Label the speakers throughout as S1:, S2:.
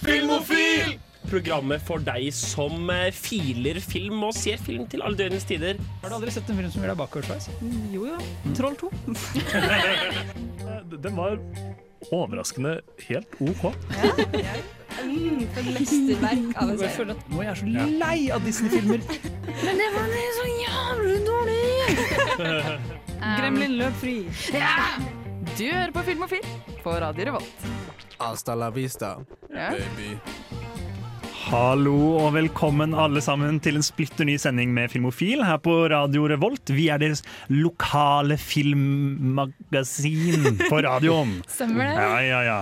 S1: Filmofil! Programmet for deg som eh, filer film og ser film til alle døgnets tider.
S2: Har du aldri sett en film som gjør deg bakoversveis? Mm.
S3: Jo jo. Troll 2.
S4: Den var overraskende helt OK.
S3: Mm, for et mesterverk av en
S2: Jeg
S3: serie.
S2: føler at nå er jeg så lei av Disney-filmer.
S3: Men det var så jævlig dårlig! Gremlin løp fri.
S5: Du hører på Filmofil på Radio Revolt.
S6: Hasta la vista,
S5: Ja.
S6: baby.
S4: Hallo og velkommen alle sammen til en splitter ny sending med Filmofil her på Radio Revolt. Vi er deres lokale filmmagasin på radioen.
S5: Stemmer det?
S4: Ja, ja, ja.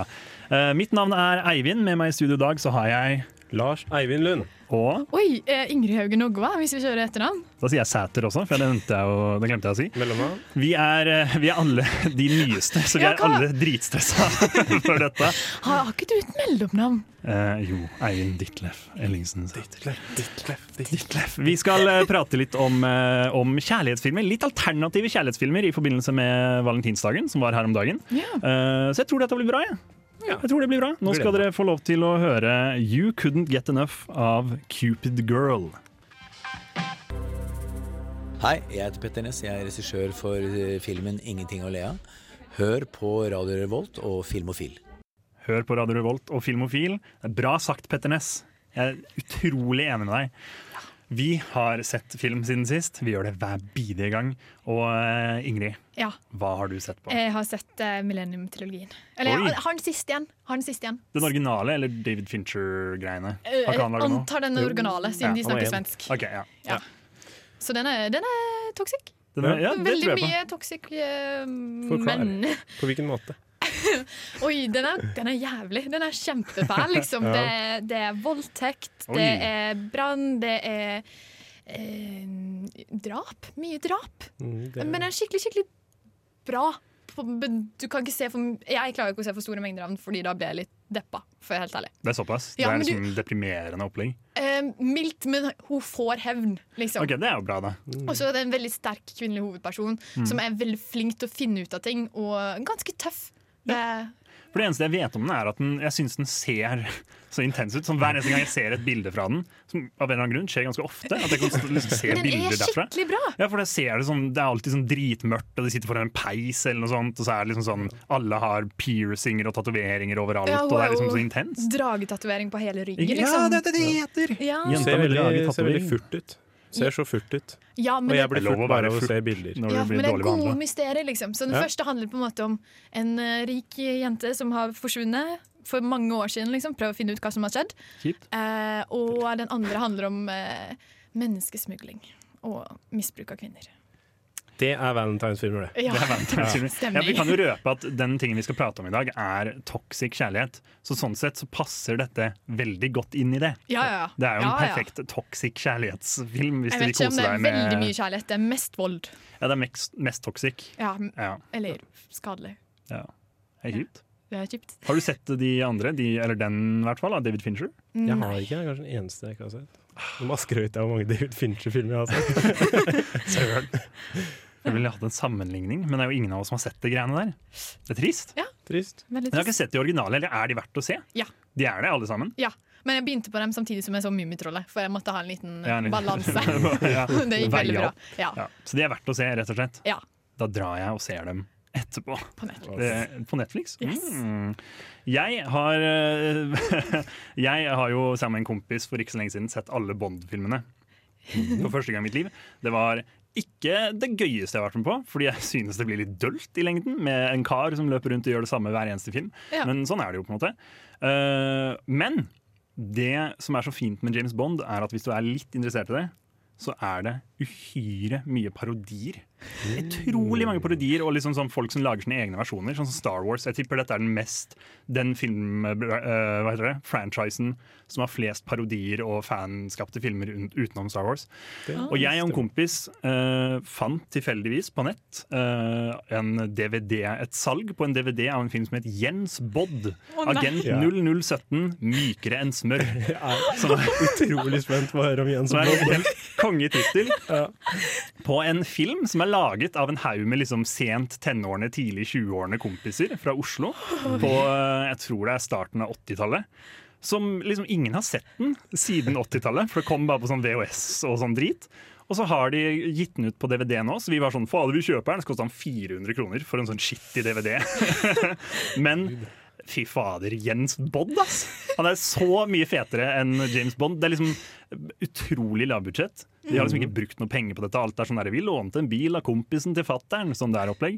S4: Eh, mitt navn er Eivind. Med meg i studio i dag så har jeg
S1: Lars Eivind Lund.
S4: og
S5: Oi, eh, Ingrid Haugen Ogva, hvis vi kjører etternavn.
S4: Da sier jeg Sæter også, for det, nevnte jeg jo, det glemte jeg å si.
S1: Mellomnavn.
S4: Vi er, eh, vi er alle de nyeste, så vi
S5: Ja,
S4: er
S5: hva?
S4: alle dritstressa for dette.
S5: Har, har ikke du et mellomnavn?
S4: Eh, jo, Eivind Ditlef Ellingsen. Sæter.
S1: Ditlev,
S4: Ditlev. Vi skal eh, prate litt om, eh, om kjærlighetsfilmer. Litt alternative kjærlighetsfilmer i forbindelse med valentinsdagen, som var her om dagen.
S5: Ja.
S4: Eh, så jeg tror dette blir bra. Jeg.
S1: Ja.
S4: Jeg tror det blir bra. Nå skal dere få lov til å høre You Couldn't Get Enough av Cupid Girl.
S7: Hei, jeg heter Petter Ness. Jeg er regissør for eh, filmen 'Ingenting å le av'. Hør på Radio Revolt og Filmofil.
S4: Hør på Radio Revolt og Filmofil. Bra sagt, Petter Ness. Jeg er utrolig enig med deg. Vi har sett film siden sist. Vi gjør det hver bidige gang. Og eh, Ingrid,
S8: Ja,
S4: hva har du sett på?
S8: jeg har sett eh, Millennium-trilogien. Eller
S4: Oi.
S8: jeg har den siste igjen. Har den siste igjen.
S4: Den originale eller David Fincher-greiene?
S8: Eh,
S4: Har ikke han
S8: Jeg
S4: laget noe?
S8: antar den
S4: Jo.
S8: originale,
S4: Ja,
S8: siden de
S1: han er
S8: snakker
S1: igjen.
S8: svensk.
S4: Ok, ja.
S8: Ja. Så den er, den er toxic.
S4: Den er, ja, det
S8: Veldig
S4: tror jeg på.
S8: mye toxic eh,
S1: Forklar.
S8: menn.
S1: På hvilken måte?
S8: Oi, den er, den er jævlig. Den er kjempefæl, liksom.
S1: Ja.
S8: det, er- det er voldtekt,
S4: Oi.
S8: det er brann, det er eh, drap. Mye drap.
S1: Mm,
S8: Men den er skikkelig, skikkelig bra. På- men Du kan ikke se for, jeg klarer ikke å se for store mengder av den, fordi da blir jeg litt deppa. For å være helt ærlig.
S4: Det er såpass?
S8: Ja,
S4: det er
S8: men
S4: liksom deprimerende opplegg?
S8: Eh, mildt, men hun får hevn, liksom.
S4: Ok, Det er jo bra, da.
S8: Og så er det en veldig sterk kvinnelig hovedperson
S4: Mm.
S8: som er veldig flink til å finne ut av ting, og ganske tøff. Eh, Det,
S4: For Det eneste jeg vet om den, er at den, jeg syns den ser så intens ut. Som Hver eneste gang jeg ser et bilde fra den, som av en eller annen grunn skjer ganske ofte At jeg kan st- liksom se
S8: men den
S4: bilder
S8: er
S4: derfra
S8: skikkelig bra!
S4: ja, for jeg ser det, sånn, det er alltid sånn dritmørkt, og de sitter foran en peis, eller noe sånt, og så er det liksom sånn alle har piercinger og tatoveringer overalt,
S8: Ja,
S4: og det er liksom
S8: wow.
S4: så intenst.
S8: Dragetatovering på hele ryggen,
S4: Ja,
S8: liksom.
S4: det er det de heter!
S8: Ja,
S4: Jenta
S1: Ser
S4: vil lage
S1: veldig, ser
S4: tatovering.
S1: veldig furt ut. Ser så furt ut.
S8: ja
S1: Og
S8: men,
S1: jeg
S4: Det
S8: det,
S1: blir
S4: er lov
S1: furt
S4: å
S1: bare
S4: være
S1: av å
S4: furt.
S1: se bilder.
S4: Når
S8: ja,
S4: du
S8: men
S4: blir
S8: det er
S4: dårlig
S8: gode
S4: behandla.
S8: mysterier, liksom. Så den
S1: Ja.
S8: første handler på en måte om en eh, rik jente som har forsvunnet for mange år siden, liksom. Prøv å finne ut hva som har skjedd.
S4: Kjipt.
S8: Eh, og den andre handler om eh, menneskesmugling og misbruk av kvinner.
S1: Det er valentinsfilmer, det.
S8: Ja.
S4: Det er verdensmesteren.
S8: Stemning.
S4: Ja, vi kan jo røpe at den tingen vi skal prate om i dag, er toxic kjærlighet. Så sånn sett så passer dette veldig godt inn i det.
S8: Ja, ja, ja.
S4: Det er jo en
S8: Ja, ja.
S4: perfekt toxic kjærlighetsfilm. Hvis
S8: Jeg
S4: du
S8: vet
S4: vil
S8: ikke om
S4: kose
S8: det
S4: deg
S8: er
S4: med
S8: veldig mye kjærlighet. Det er mest vold.
S4: Ja, det er mest, mest toxic.
S8: Ja, m-
S4: Ja,
S8: eller skadelig.
S4: ja. Det er kjipt.
S8: Det er kjipt.
S4: Har du sett de andre? De, eller den, i hvert fall. Av David Fincher?
S8: Mm.
S1: Jeg har ikke, jeg er kanskje den eneste jeg ikke har sett. Nå må jeg skryte av hvor mange David Fincher-filmer jeg har sett.
S4: Søren. Jeg ville hatt en sammenligning, men det er jo ingen av oss som har sett de greiene der. Det er trist.
S1: Trist.
S8: Veldig
S4: Men jeg har ikke
S8: trist.
S4: sett de originale, eller er de verdt å se?
S8: Ja.
S4: De er det, alle sammen.
S8: Ja. Men jeg begynte på dem samtidig som jeg så Mummitrollet, for jeg måtte ha en liten eh,
S4: Ja, en liten-
S8: balanse.
S4: Ja.
S8: Det gikk veldig
S4: Veie
S8: bra.
S4: opp.
S8: Ja.
S4: Ja. Så de er verdt å se, rett og slett.
S8: ja.
S4: Da drar jeg og ser dem etterpå.
S8: På nett.
S4: Det- Eh, På Netflix?
S8: Yes.
S4: Mm. Jeg har eh, Jeg har jo sammen med en kompis for ikke så lenge siden sett alle Bond-filmene. For første gang i mitt liv. Det var ikke det gøyeste jeg har vært med på, fordi jeg synes det blir litt dølt i lengden med en kar som løper rundt og gjør det samme hver eneste film.
S8: Ja.
S4: Men sånn er det jo, på en måte. Eh, men det som er så fint med James Bond, er at hvis du er litt interessert i det, så er det uhyre mye parodier. Utrolig mange parodier og liksom sånn folk som lager sine egne versjoner, sånn som Star Wars. Jeg tipper dette er den mest den film, eh, hva heter det, franchisen som har flest parodier og fanskapte filmer un- utenom Star Wars. Og jeg og en kompis eh, fant tilfeldigvis på nett eh, en DVD, et salg på en DVD av en film som het Jens Bodd.
S8: Å, nei.
S4: Agent
S1: Ja.
S4: 0017, mykere enn smør.
S1: Jeg er utrolig spent på å høre om Jens
S4: Som er
S1: Bond.
S4: en helt kongetittel. På en film som er laget av en haug med liksom sent tenårene, tidlig 20-årene kompiser fra Oslo. På eh, jeg tror det er starten av 80-tallet. Som liksom ingen har sett den siden 80-tallet, for det kom bare på sånn VHS og sånn drit. Og så har de gitt den ut på DVD nå, så vi var sånn Fader, vi kjøper den. Så kosta den 400 kroner for en sånn skittig DVD. Men fy fader, Jens Bond, ass! Han er så mye fetere enn James Bond. Det er liksom utrolig lavbudsjett. De har liksom ikke brukt noe penger på dette. Alt er sånn der, Vi lånte en bil av kompisen til fattern, sånn der opplegg.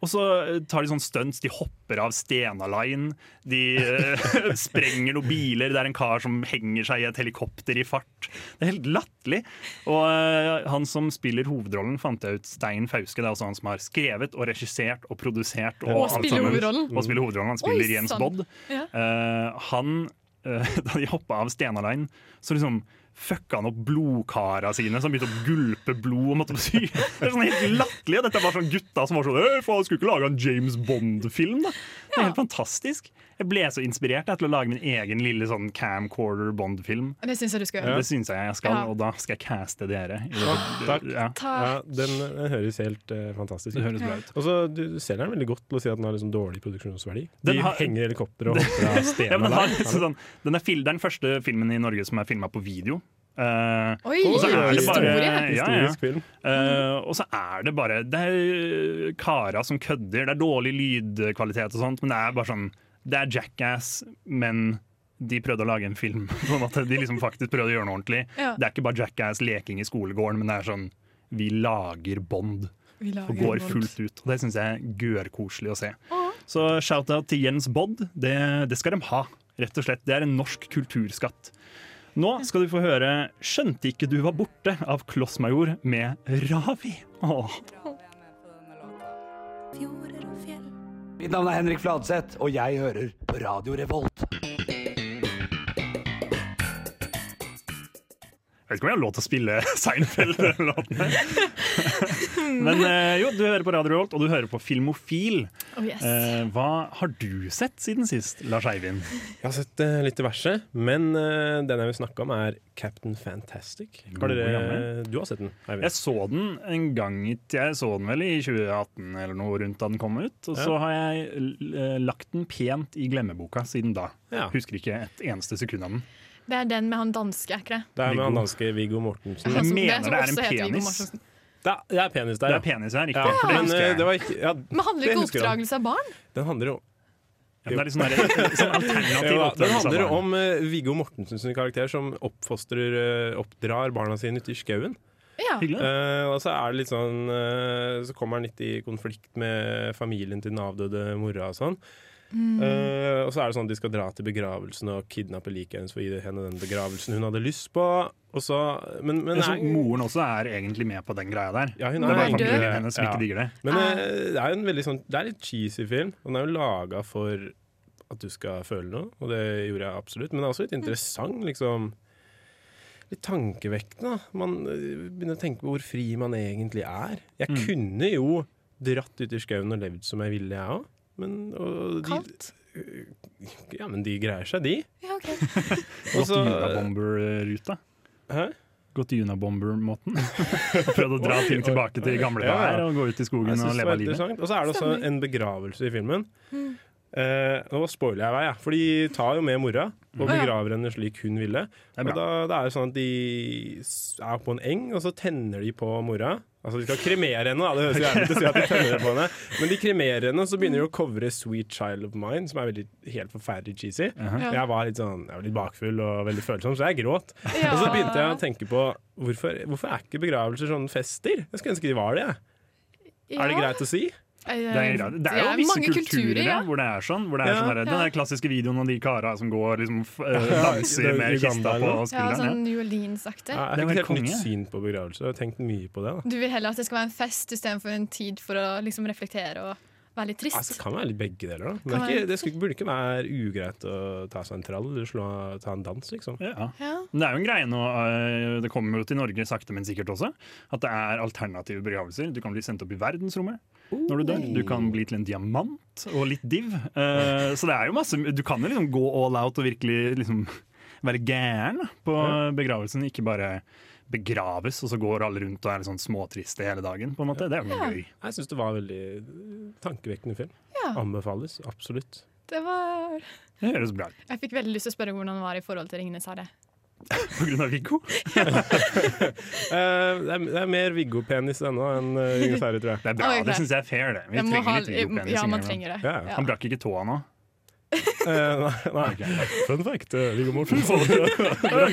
S4: Og så tar de sånn stunts. De hopper av Stena Line. De eh, sprenger noen biler. Det er en kar som henger seg i et helikopter i fart. Det er helt latterlig. Og eh, han som spiller hovedrollen, fant jeg ut, Stein Fauske. Det er også han som har skrevet og regissert og produsert. Og, alt
S8: spiller
S4: sammen.
S8: hovedrollen.
S4: Og spiller hovedrollen. Han spiller
S8: Oi,
S4: Jens
S8: sann.
S4: Bodd.
S8: Ja.
S4: Eh, han, eh, da de hoppa av Stena Line, så liksom fucka han opp blodkara sine, så han begynte å gulpe blod og måtte på sy. Det er sånn helt latterlig. og Dette er bare sånn gutta som var sånn «Øy, faen, skulle ikke lage en James Bond-film, da. Det er helt fantastisk. Jeg ble så inspirert jeg, til å lage min egen lille sånn camcorder Bond-film.
S8: Det syns jeg du skal gjøre.
S4: Det syns jeg jeg skal,
S8: Ja.
S4: og da skal jeg caste dere. i det-
S9: takk.
S4: Ja,
S9: Ja, den, den høres helt eh, fantastisk
S4: det
S9: ut.
S4: høres bra ut.
S9: Og så Du du selger den veldig godt til å si at den har liksom dårlig produksjonsverdi.
S4: Den
S9: De
S4: har-
S9: henger helikopter og hopper av
S4: Ja,
S9: stener
S4: men den, har,
S9: der.
S4: liksom sånn, den er fil, det er den første filmen i Norge som er filma på video. Eh,
S8: Oi,
S4: og så er det bare
S8: historie!
S4: ja, ja.
S9: Historisk film.
S4: Eh, og så er det bare Det er kara som kødder. Det er dårlig lydkvalitet og sånt, men det er bare sånn Det er jackass, men de prøvde å lage en film. På en måte. De liksom faktisk prøvde å gjøre noe ordentlig.
S8: Ja.
S4: Det er ikke bare jackass-leking i skolegården, men det er sånn Vi lager Bond
S8: Vi lager
S4: og går
S8: en vold.
S4: fullt ut. Og det syns jeg er gørkoselig å se. Så shout-out til Jens Bodd. Det, det skal de ha, rett og slett. Det er en norsk kulturskatt. Nå skal du få høre 'Skjønte ikke du var borte' av Klossmajor med Ravi. Åh.
S10: Mitt navn er Henrik Fladseth, og jeg hører på Radio Revolt.
S4: Jeg vet ikke om jeg har lov til å spille Seinfeld-låten. Men eh, jo, du hører på Radio Revolt, og du hører på Filmofil.
S8: Oh, yes.
S4: Eh, hva har du sett siden sist, Lars Eivind?
S9: Jeg har sett eh, litt diverse, men eh, den jeg vil snakke om, er Captain Fantastic. Har dere, du har sett den? Eivind?
S4: Jeg så den en gang i- Jeg så den vel i 2018 eller noe rundt da den kom ut. Og så har jeg eh, lagt den pent i glemmeboka siden da.
S9: Ja.
S4: Husker ikke et eneste sekund av den.
S8: Det er den med han danske, er ikke det?
S9: Det er med han
S4: Viggo.
S9: danske Viggo Mortensen.
S8: Han som-
S4: mener
S8: som
S4: det er
S8: også
S4: en
S8: heter Viggo
S4: penis.
S8: Mortensen.
S9: Det er, det er penis
S4: Det
S9: der,
S4: er penis her, riktig.
S9: Ja,
S4: for det
S9: men
S4: husker
S9: eh,
S4: jeg.
S9: det var ikke ja,
S8: Men handler
S9: det
S8: ikke
S9: husker han.
S8: oppdragelse av barn?
S9: Den handler jo
S4: Ja, men det er litt sånn der, sånn alternativ
S9: Ja, den
S4: oppdragelse av
S9: handler
S4: barn.
S9: om eh, Viggo Mortensen sin karakter som oppfostrer, eh, oppdrar barna sine ute i skauen.
S8: Ja.
S4: Hyggelig.
S9: Eh, og så er det litt sånn eh, Så kommer han litt i konflikt med familien til den avdøde mora og sånn. Eh, og så er det sånn at de skal dra til begravelsen og kidnappe liket hennes for å gi henne den begravelsen hun hadde lyst på. Og så, men, men,
S4: Jeg så
S9: nei,
S4: moren også er egentlig med på den greia der.
S9: Ja, hun
S4: sånn det er
S9: er
S4: bare
S9: død.
S4: familien hennes som
S9: Ja.
S4: ikke digger det.
S9: men eh, det er jo en veldig sånn Det er litt cheesy film. Og den er jo laga for at du skal føle noe, og det gjorde jeg absolutt. Men det er også litt interessant, liksom. Litt tankevekkende. da. Man eh, begynner å tenke på hvor fri man egentlig er. Jeg kunne jo dratt ut i skauen og levd som jeg ville, jeg òg. Men, og de,
S8: Kaldt?
S9: ja, men de greier seg, de.
S8: Ja, ok.
S9: Og
S4: Gått
S9: så-
S4: Junabomber-ruta.
S9: Hæ?
S4: Gått Junabomber-måten. Prøvd å dra ting tilbake til gamle
S9: Ja, ja.
S4: dager og gå ut i
S9: Jeg
S4: skogen
S9: synes
S4: og
S9: det
S4: leve
S9: var
S4: av livet.
S9: interessant. Og så er det også en begravelse i filmen. Eh, nå spoiler jeg i vei, jeg, for de tar jo med mora og begraver henne slik hun ville.
S4: Mm. er
S9: Og
S4: bra.
S9: da, det er jo sånn at De s- er på en eng, og så tenner de på mora. Altså De skal kremere henne, da. det høres jo jævlig ut å si at de tenner på henne. Men de kremerer henne, og så begynner de å covre 'Sweet Child of Mine', som er veldig, helt forferdelig cheesy. Jeg var litt sånn, jeg var litt bakfull og veldig følsom, så jeg gråt. Og så begynte jeg å tenke på hvorfor, hvorfor er ikke begravelser sånne fester? Jeg skulle ønske de var det. jeg. Er det
S8: Ja.
S9: greit å si?
S8: Eh,
S4: Det er, greit. det er jo visse
S8: mange
S4: kulturer,
S8: ja.
S4: hvor det er sånn. Hvor det er
S9: Ja.
S4: sånn der, Den der klassiske videoen av de kara som går liksom f eh,
S9: det
S4: danser
S9: er
S4: med kista
S9: Uganda
S4: på
S9: eller noe.
S8: Ja,
S4: skulderen.
S8: sånn New Orleans-aktig.
S9: Ja,
S4: Det
S9: Jeg
S4: var
S9: fikk
S4: helt
S9: et helt nytt
S4: konge.
S9: syn på begravelser. Jeg har tenkt mye på det. da.
S8: Du vil heller at det skal være en fest istedenfor en tid for å liksom reflektere og være litt
S9: Altså,
S8: trist.
S9: det kan være litt begge deler. da. Men det,
S8: Kan
S9: er
S8: være-
S9: ikke, det skulle, burde ikke være ugreit å ta seg en trall eller slå, ta en dans, liksom.
S4: Ja. Ja.
S8: Ja.
S4: Men Det er jo en greie nå, eh, det kommer jo til Norge sakte, men sikkert også, at det er alternative begravelser. Du kan bli sendt opp i verdensrommet når du dør. Du kan bli til en diamant og litt div. Eh, Så det er jo masse Du kan jo liksom gå all out og virkelig liksom være gæren på begravelsen, ikke bare begraves, og så går alle rundt og er litt sånn småtriste hele dagen. på en måte. Det er jo gøy.
S9: Jeg syns det var en veldig eh, tankevekkende film.
S8: Ja.
S9: Anbefales absolutt.
S8: Det var
S4: Det høres bra ut.
S8: Jeg fikk veldig lyst til å spørre hvordan det var i forhold til 'Ringenes herre'.
S4: På grunn av Viggo.
S9: Eh, det, er, det er mer Viggo-penis ennå enn uh, Ringenes herre, tror jeg.
S4: Det er bra,
S8: Oi, ok.
S4: det syns jeg er fair, det. Vi
S8: Jeg må
S4: trenger
S8: ha-
S4: litt Viggo-penis
S8: Ja, man
S4: innimellom.
S8: trenger det.
S9: Ja, ja.
S4: Han brakk ikke tåa nå.
S9: Eh, nei, nei. Fun fact, eh, Viggo Morten.
S4: Jeg ville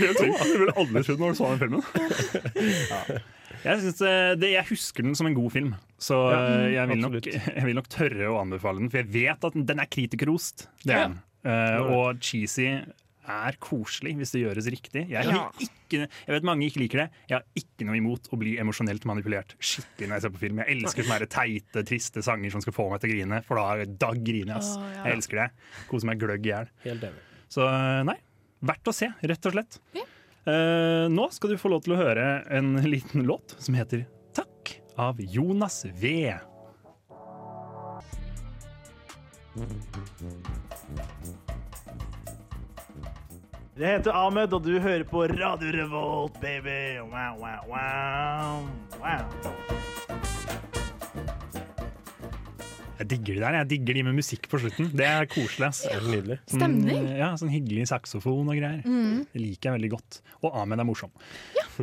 S4: aldri trodd når du så den filmen. Jeg, synes eh, det, jeg husker den som en god film, så eh, jeg vil, nok,
S9: absolutt.
S4: jeg vil nok tørre å anbefale den. For jeg vet at den- den er kritikerrost. Det
S9: Ja.
S4: er den. Eh,
S9: Det er det.
S4: og cheesy er koselig hvis det gjøres riktig. Jeg, har ikke, jeg vet mange ikke liker det. Jeg har ikke noe imot å bli emosjonelt manipulert skikkelig når jeg ser på film. Jeg elsker sånne her teite, triste sanger som skal få meg til å grine, for da, da griner jeg. Ass.
S8: Å, ja.
S4: Jeg elsker det. Koser meg gløgg i hjel.
S9: Helt enig.
S4: Så eh, nei, verdt å se, rett og slett. Eh, nå skal du få lov til å høre en liten låt som heter 'Takk' av Jonas V.
S11: Jeg heter Ahmed, og du hører på Radio Revolt, baby. Wow, wow, wow. wow.
S4: Jeg digger de der. Jeg digger de med musikk på slutten. Det er koselig. ass.
S9: Helt nydelig.
S4: Sånn,
S8: Stemning. Mm.
S4: eh, ja, sånn hyggelig saksofon og greier. Det liker jeg veldig godt. Og Ahmed er morsom.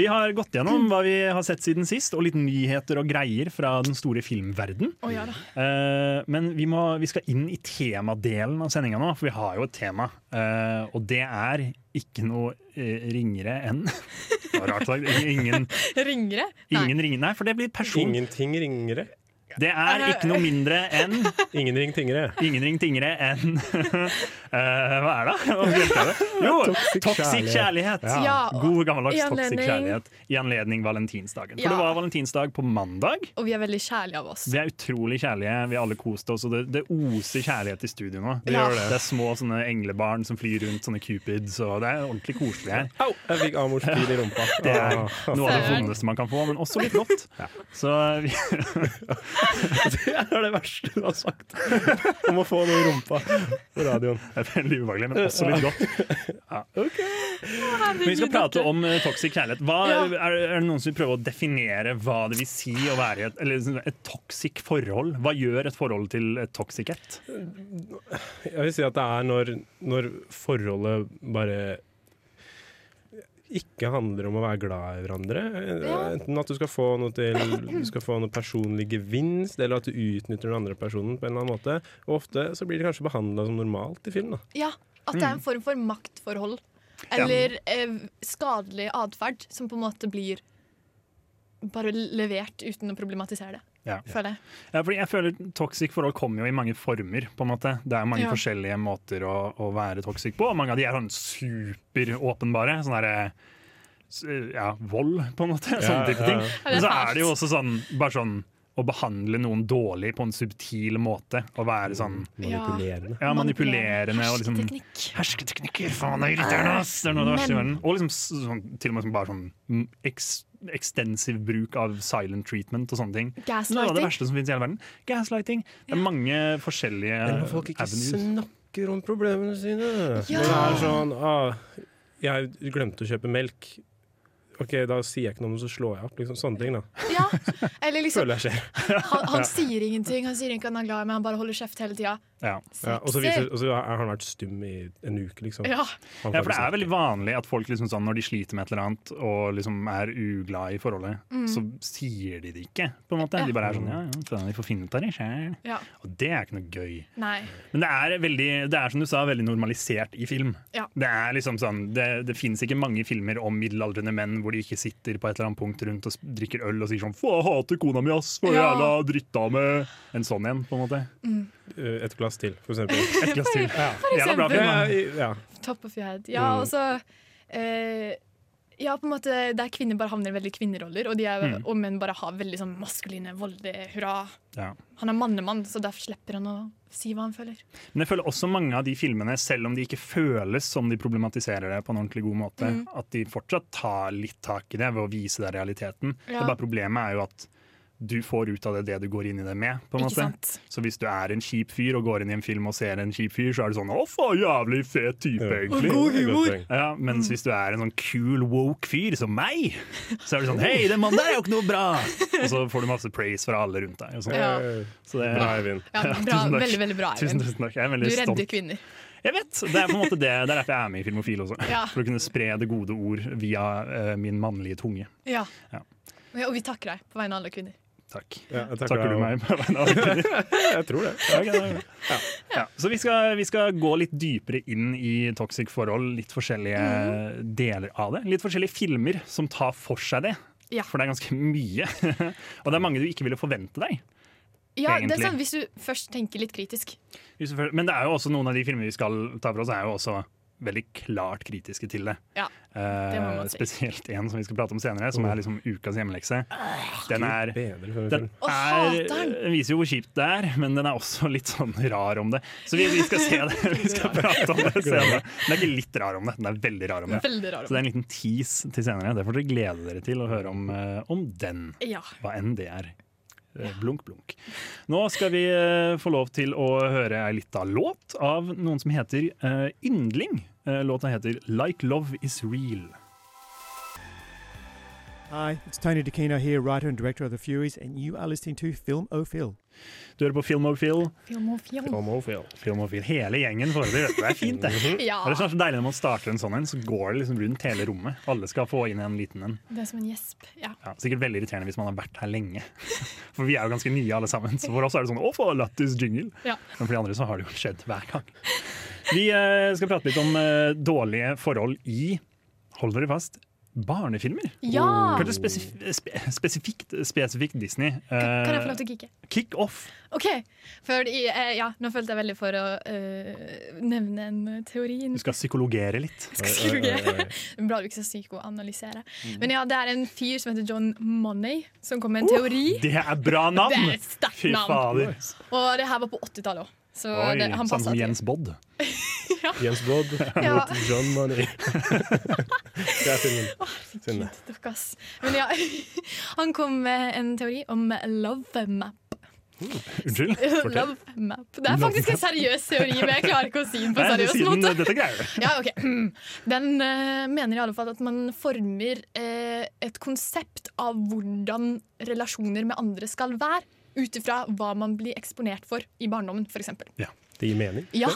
S4: vi har gått gjennom hva vi har sett siden sist, og litt nyheter og greier fra den store filmverden.
S8: Å ja da.
S4: Eh, men vi, må, vi skal inn i temadelen av sendinga nå, for vi har jo et tema. Eh, og det er ikke noe eh, ringere enn Det var Rart sagt. Ingen,
S8: Ringere? Nei.
S4: ingen ringere. Nei, for det blir person.
S9: Ingenting ringere.
S4: Det er ikke noe mindre enn
S9: Ingen ring tingere.
S4: Ingen ring tingere enn eh, Hva er det? Hva heter det? Jo,
S9: Toxic
S4: toxic kjærlighet.
S8: Ja, og
S4: God gammeldags
S8: i
S4: toxic
S8: anledning-
S4: kjærlighet i anledning valentinsdagen. For
S8: Ja.
S4: det var valentinsdag på mandag.
S8: Og vi er veldig kjærlige av oss.
S4: Vi er utrolig kjærlige. Vi alle koste oss. Og det, det oser kjærlighet i studio nå.
S8: Det gjør det.
S4: er små sånne englebarn som flyr rundt, sånne cupids. Og det er ordentlig koselig her.
S9: Au! Jeg fikk Eh, Amors pil i rumpa.
S4: Det er
S9: Ah.
S4: noe av det
S8: Søren.
S4: vondeste man kan få, men også litt godt. Så vi,
S9: Det er det verste du har sagt om å få noe i rumpa på radioen.
S4: det er veldig ubehagelig, men også litt godt. Men vi skal prate om eh, toxic kjærlighet. Hva,
S8: Ja.
S4: er, er det noen som vil prøve å definere hva det vil si å være i et, eller, liksom, et toxic forhold? Hva gjør et forhold til et toxic et?
S9: Jeg vil si at det er når, når forholdet bare ikke handler om å være glad i hverandre. eh,
S8: Ja.
S9: Enten at du skal få noe til Du skal få noe personlig gevinst, eller at du utnytter den andre personen på en eller annen måte. Og ofte så blir det kanskje behandla som normalt i film. da
S8: Ja, At det er
S4: Mm.
S8: en form for maktforhold. Eller eh, skadelig atferd som på en måte blir bare levert uten å problematisere det,
S4: Ja.
S8: føler jeg.
S4: Ja, fordi jeg føler Toxic forhold kommer jo i mange former. på en måte. Det er mange
S8: Ja.
S4: forskjellige måter å, å være toxic på. og Mange av de er sånn superåpenbare. Sånn derre s- ja, vold, på en måte. Sånne type ting.
S8: Ja, det er
S4: Men så
S8: fælt.
S4: er det jo også sånn bare sånn å behandle noen dårlig på en subtil måte. Å
S8: Mm.
S4: være sånn
S9: Manipulerende.
S4: ja, manipulerende og liksom
S8: Hersketeknikk.
S4: Hersketeknikker! Faen, det er irriterende!
S8: Eh,
S4: ass! Det er noe av det verste i verden. Og liksom s- sånn, til og med sånn, bare sånn mm, eks, ekstensiv bruk av silent treatment og sånne ting. Noe av det
S8: Gaslighting.
S4: verste som finnes i hele verden. Gaslighting. Det er mange forskjellige
S9: Eller når folk ikke
S4: avenues.
S9: snakker om problemene sine.
S8: Ja.
S9: Når det er sånn ah, 'Jeg glemte å kjøpe melk'. OK, da sier jeg ikke noe om det, så slår jeg opp. Liksom, sånne ting da
S8: Ja. Eller liksom,
S9: føler jeg skjer.
S8: han, han sier ingenting, han sier ikke at han er glad i meg, han bare holder kjeft hele tida.
S4: Ja.
S9: Ja, og, så viser, og så har han vært stum i en uke, liksom.
S8: Ja.
S9: Han
S4: ja, for det
S9: faktisk-
S4: er veldig vanlig at folk liksom sånn, når de sliter med et eller annet og liksom er uglad i forholdet, så sier de det ikke. på en måte.
S8: Mm. Ja.
S4: De bare er sånn ja, ja, faen, vi får finne ut av det sjæl.
S8: ja.
S4: Og det er ikke noe gøy.
S8: Nei.
S4: Men det er, veldig, det er som du sa, veldig normalisert i film.
S8: Ja.
S4: Det er liksom sånn, det, det finnes ikke mange filmer om middelaldrende menn hvor de ikke sitter på et eller annet punkt rundt og s- drikker øl og sier sånn 'Faen, jeg hater kona mi, ass! Hva
S8: Ja.
S4: jævla drittdame!' En sånn en, på en måte.
S9: Eh, Et glass til, for eksempel.
S4: Et glass til. Jævla bra
S8: eksempel.
S4: film, da.
S9: Ja, i- ja.
S8: Top of your head. Ja,
S4: Mm.
S8: og så eh, Ja, på en måte der kvinner bare havner i veldig kvinneroller, og, de er,
S4: Mm.
S8: og menn bare har veldig sånn maskuline, voldelige hurra.
S4: Ja.
S8: Han er mannemann, så derfor slipper han å si hva han føler.
S4: Men jeg føler også mange av de filmene, selv om de ikke føles som de problematiserer det på en ordentlig god måte,
S8: Mm.
S4: at de fortsatt tar litt tak i det ved å vise deg realiteten.
S8: Ja.
S4: Det er bare problemet er jo at du får ut av det det du går inn i det med. på en
S5: Ikke
S4: måte.
S5: sant.
S4: Så hvis du er en kjip fyr og går inn i en film og ser en kjip fyr, så er det sånn 'Å, for jævlig fet type', egentlig.
S9: god humor.
S4: Ja, mens
S8: Mm.
S4: hvis du er en sånn cool, woke fyr som meg, så er det sånn 'Hei, den mannen der er jo ikke noe bra!' Og så får du masse praise fra alle rundt deg. Og sånn.
S8: Ja.
S4: Så det,
S9: Bra, Eivind.
S8: Ja,
S4: Ja,
S8: bra,
S4: tusen takk.
S8: veldig, veldig bra,
S4: Tusen,
S8: Eivind.
S4: tusen takk. Jeg er
S8: Du
S4: veldig stolt.
S8: redder kvinner.
S4: Jeg vet! Det er på en måte det, det er derfor jeg er med i Filmofil også.
S8: Ja.
S4: For å kunne spre det gode ord via eh, min mannlige tunge.
S8: Ja.
S4: Ja.
S8: Og vi takker deg på vegne av alle kvinner.
S4: Takk.
S9: Ja, jeg
S4: Takker du meg på vegne av
S9: jeg tror det.
S4: Ja, ok, det er- Ja. Så vi skal, vi skal gå litt dypere inn i toxic forhold, litt forskjellige
S8: Mm.
S4: deler av det. Litt forskjellige filmer som tar for seg det,
S8: Ja.
S4: for det er ganske mye. Og det er mange du ikke ville forvente deg.
S8: Ja, det er
S4: Egentlig.
S8: sånn hvis du først tenker litt kritisk.
S4: Hvis du føler- Men det er jo også noen av de filmer vi skal ta for oss, er jo også veldig klart kritiske til det.
S8: Ja, det må
S4: Eh,
S8: man si.
S4: spesielt en som vi skal prate om senere, som er liksom ukas hjemmelekse. Den er, den
S8: Å,
S4: er
S8: hater den!
S4: viser jo hvor kjipt det er, men den er også litt sånn rar om det. Så vi, vi skal se det, vi skal prate om det senere. Den er ikke litt rar om det, den er veldig rar om det.
S8: Veldig rar.
S4: Så det er en liten tease til senere. Det får dere glede dere til å høre om, eh, om den.
S8: Ja.
S4: Hva enn det er. Eh, Blunk, blunk. Nå skal vi eh, få lov til å høre ei lita låt av noen som heter eh, Yndling. Eh, Låta heter 'Like Love Is Real'.
S12: Hi, it's Tony DeCino here, writer and director of The Furies, and you are listening to Film O'Phil.
S4: Du hører på Filmofil.
S8: Filmofil.
S4: Filmofil. Hele gjengen foreløpig. vet du. Det er fint, det.
S8: Ja.
S4: Det er så deilig når man starter en sånn en, så går det liksom rundt hele rommet. Alle skal få inn en liten en.
S8: Det er som en gjesp. Ja.
S4: Ja, sikkert veldig irriterende hvis man har vært her lenge. For vi er jo ganske nye alle sammen. Så for oss er det sånn 'å, for lættis jingle'.
S8: Ja.
S4: Men for de andre så har det jo skjedd hver gang. Vi eh, skal prate litt om eh, dårlige forhold i Hold dere fast barnefilmer.
S8: Ja!
S4: Kanskje spesif spe spesifikt, spesifikt Disney.
S8: Kan
S4: Eh.
S8: jeg få lov til å kikke?
S4: Kick off!
S8: OK. For i, eh, ja, nå følte jeg veldig for å eh, nevne en teori.
S4: Du skal psykologere litt.
S8: psykologere. Bra du ikke skal psykoanalysere.
S4: Mm.
S8: Men ja, det er en fyr som heter John Money, som kom med en teori.
S4: Det er bra navn!
S8: Det er et sterkt navn.
S4: Fy fader.
S8: Og det her var på 80-tallet òg, så
S4: Oi,
S8: det, han
S4: samme
S8: passa
S4: som
S8: til.
S4: Jens Bodd.
S9: Jens Bodd
S8: Ja.
S9: mot John Money. Det er filmen. Synne.
S8: Dere, ass. Men ja, han kom med en teori om love map.
S4: Unnskyld?
S8: Love map. Det er faktisk en seriøs teori, men jeg klarer ikke å si den på
S4: Nei,
S8: en
S4: du
S8: seriøs
S4: sier den,
S8: måte.
S4: Dette greier du.
S8: Ja, ok. Den eh, mener i alle fall at man former eh, et konsept av hvordan relasjoner med andre skal være, ut ifra hva man blir eksponert for i barndommen, f.eks.
S9: Det gir mening.
S8: Ja.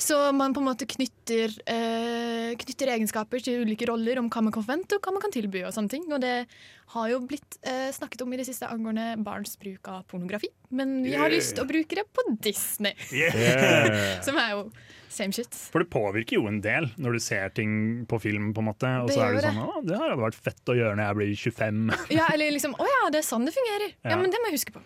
S8: Så man på en måte knytter, eh, knytter egenskaper til ulike roller om hva man kan forvente og hva man kan tilby. Og sånne ting. Og det har jo blitt eh, snakket om i det siste angående barns bruk av pornografi. Men vi har
S4: Yeah.
S8: lyst til å bruke det på Disney,
S4: Yeah.
S8: som er jo same shit.
S4: For det påvirker jo en del når du ser ting på film, på en måte. Og
S8: Det
S4: så er det
S8: gjør det.
S4: sånn Å, det her hadde vært fett å gjøre når jeg blir 25.
S8: Ja, eller liksom Å ja, det er sånn det fungerer. Ja,
S4: Ja.
S8: men det må jeg huske på.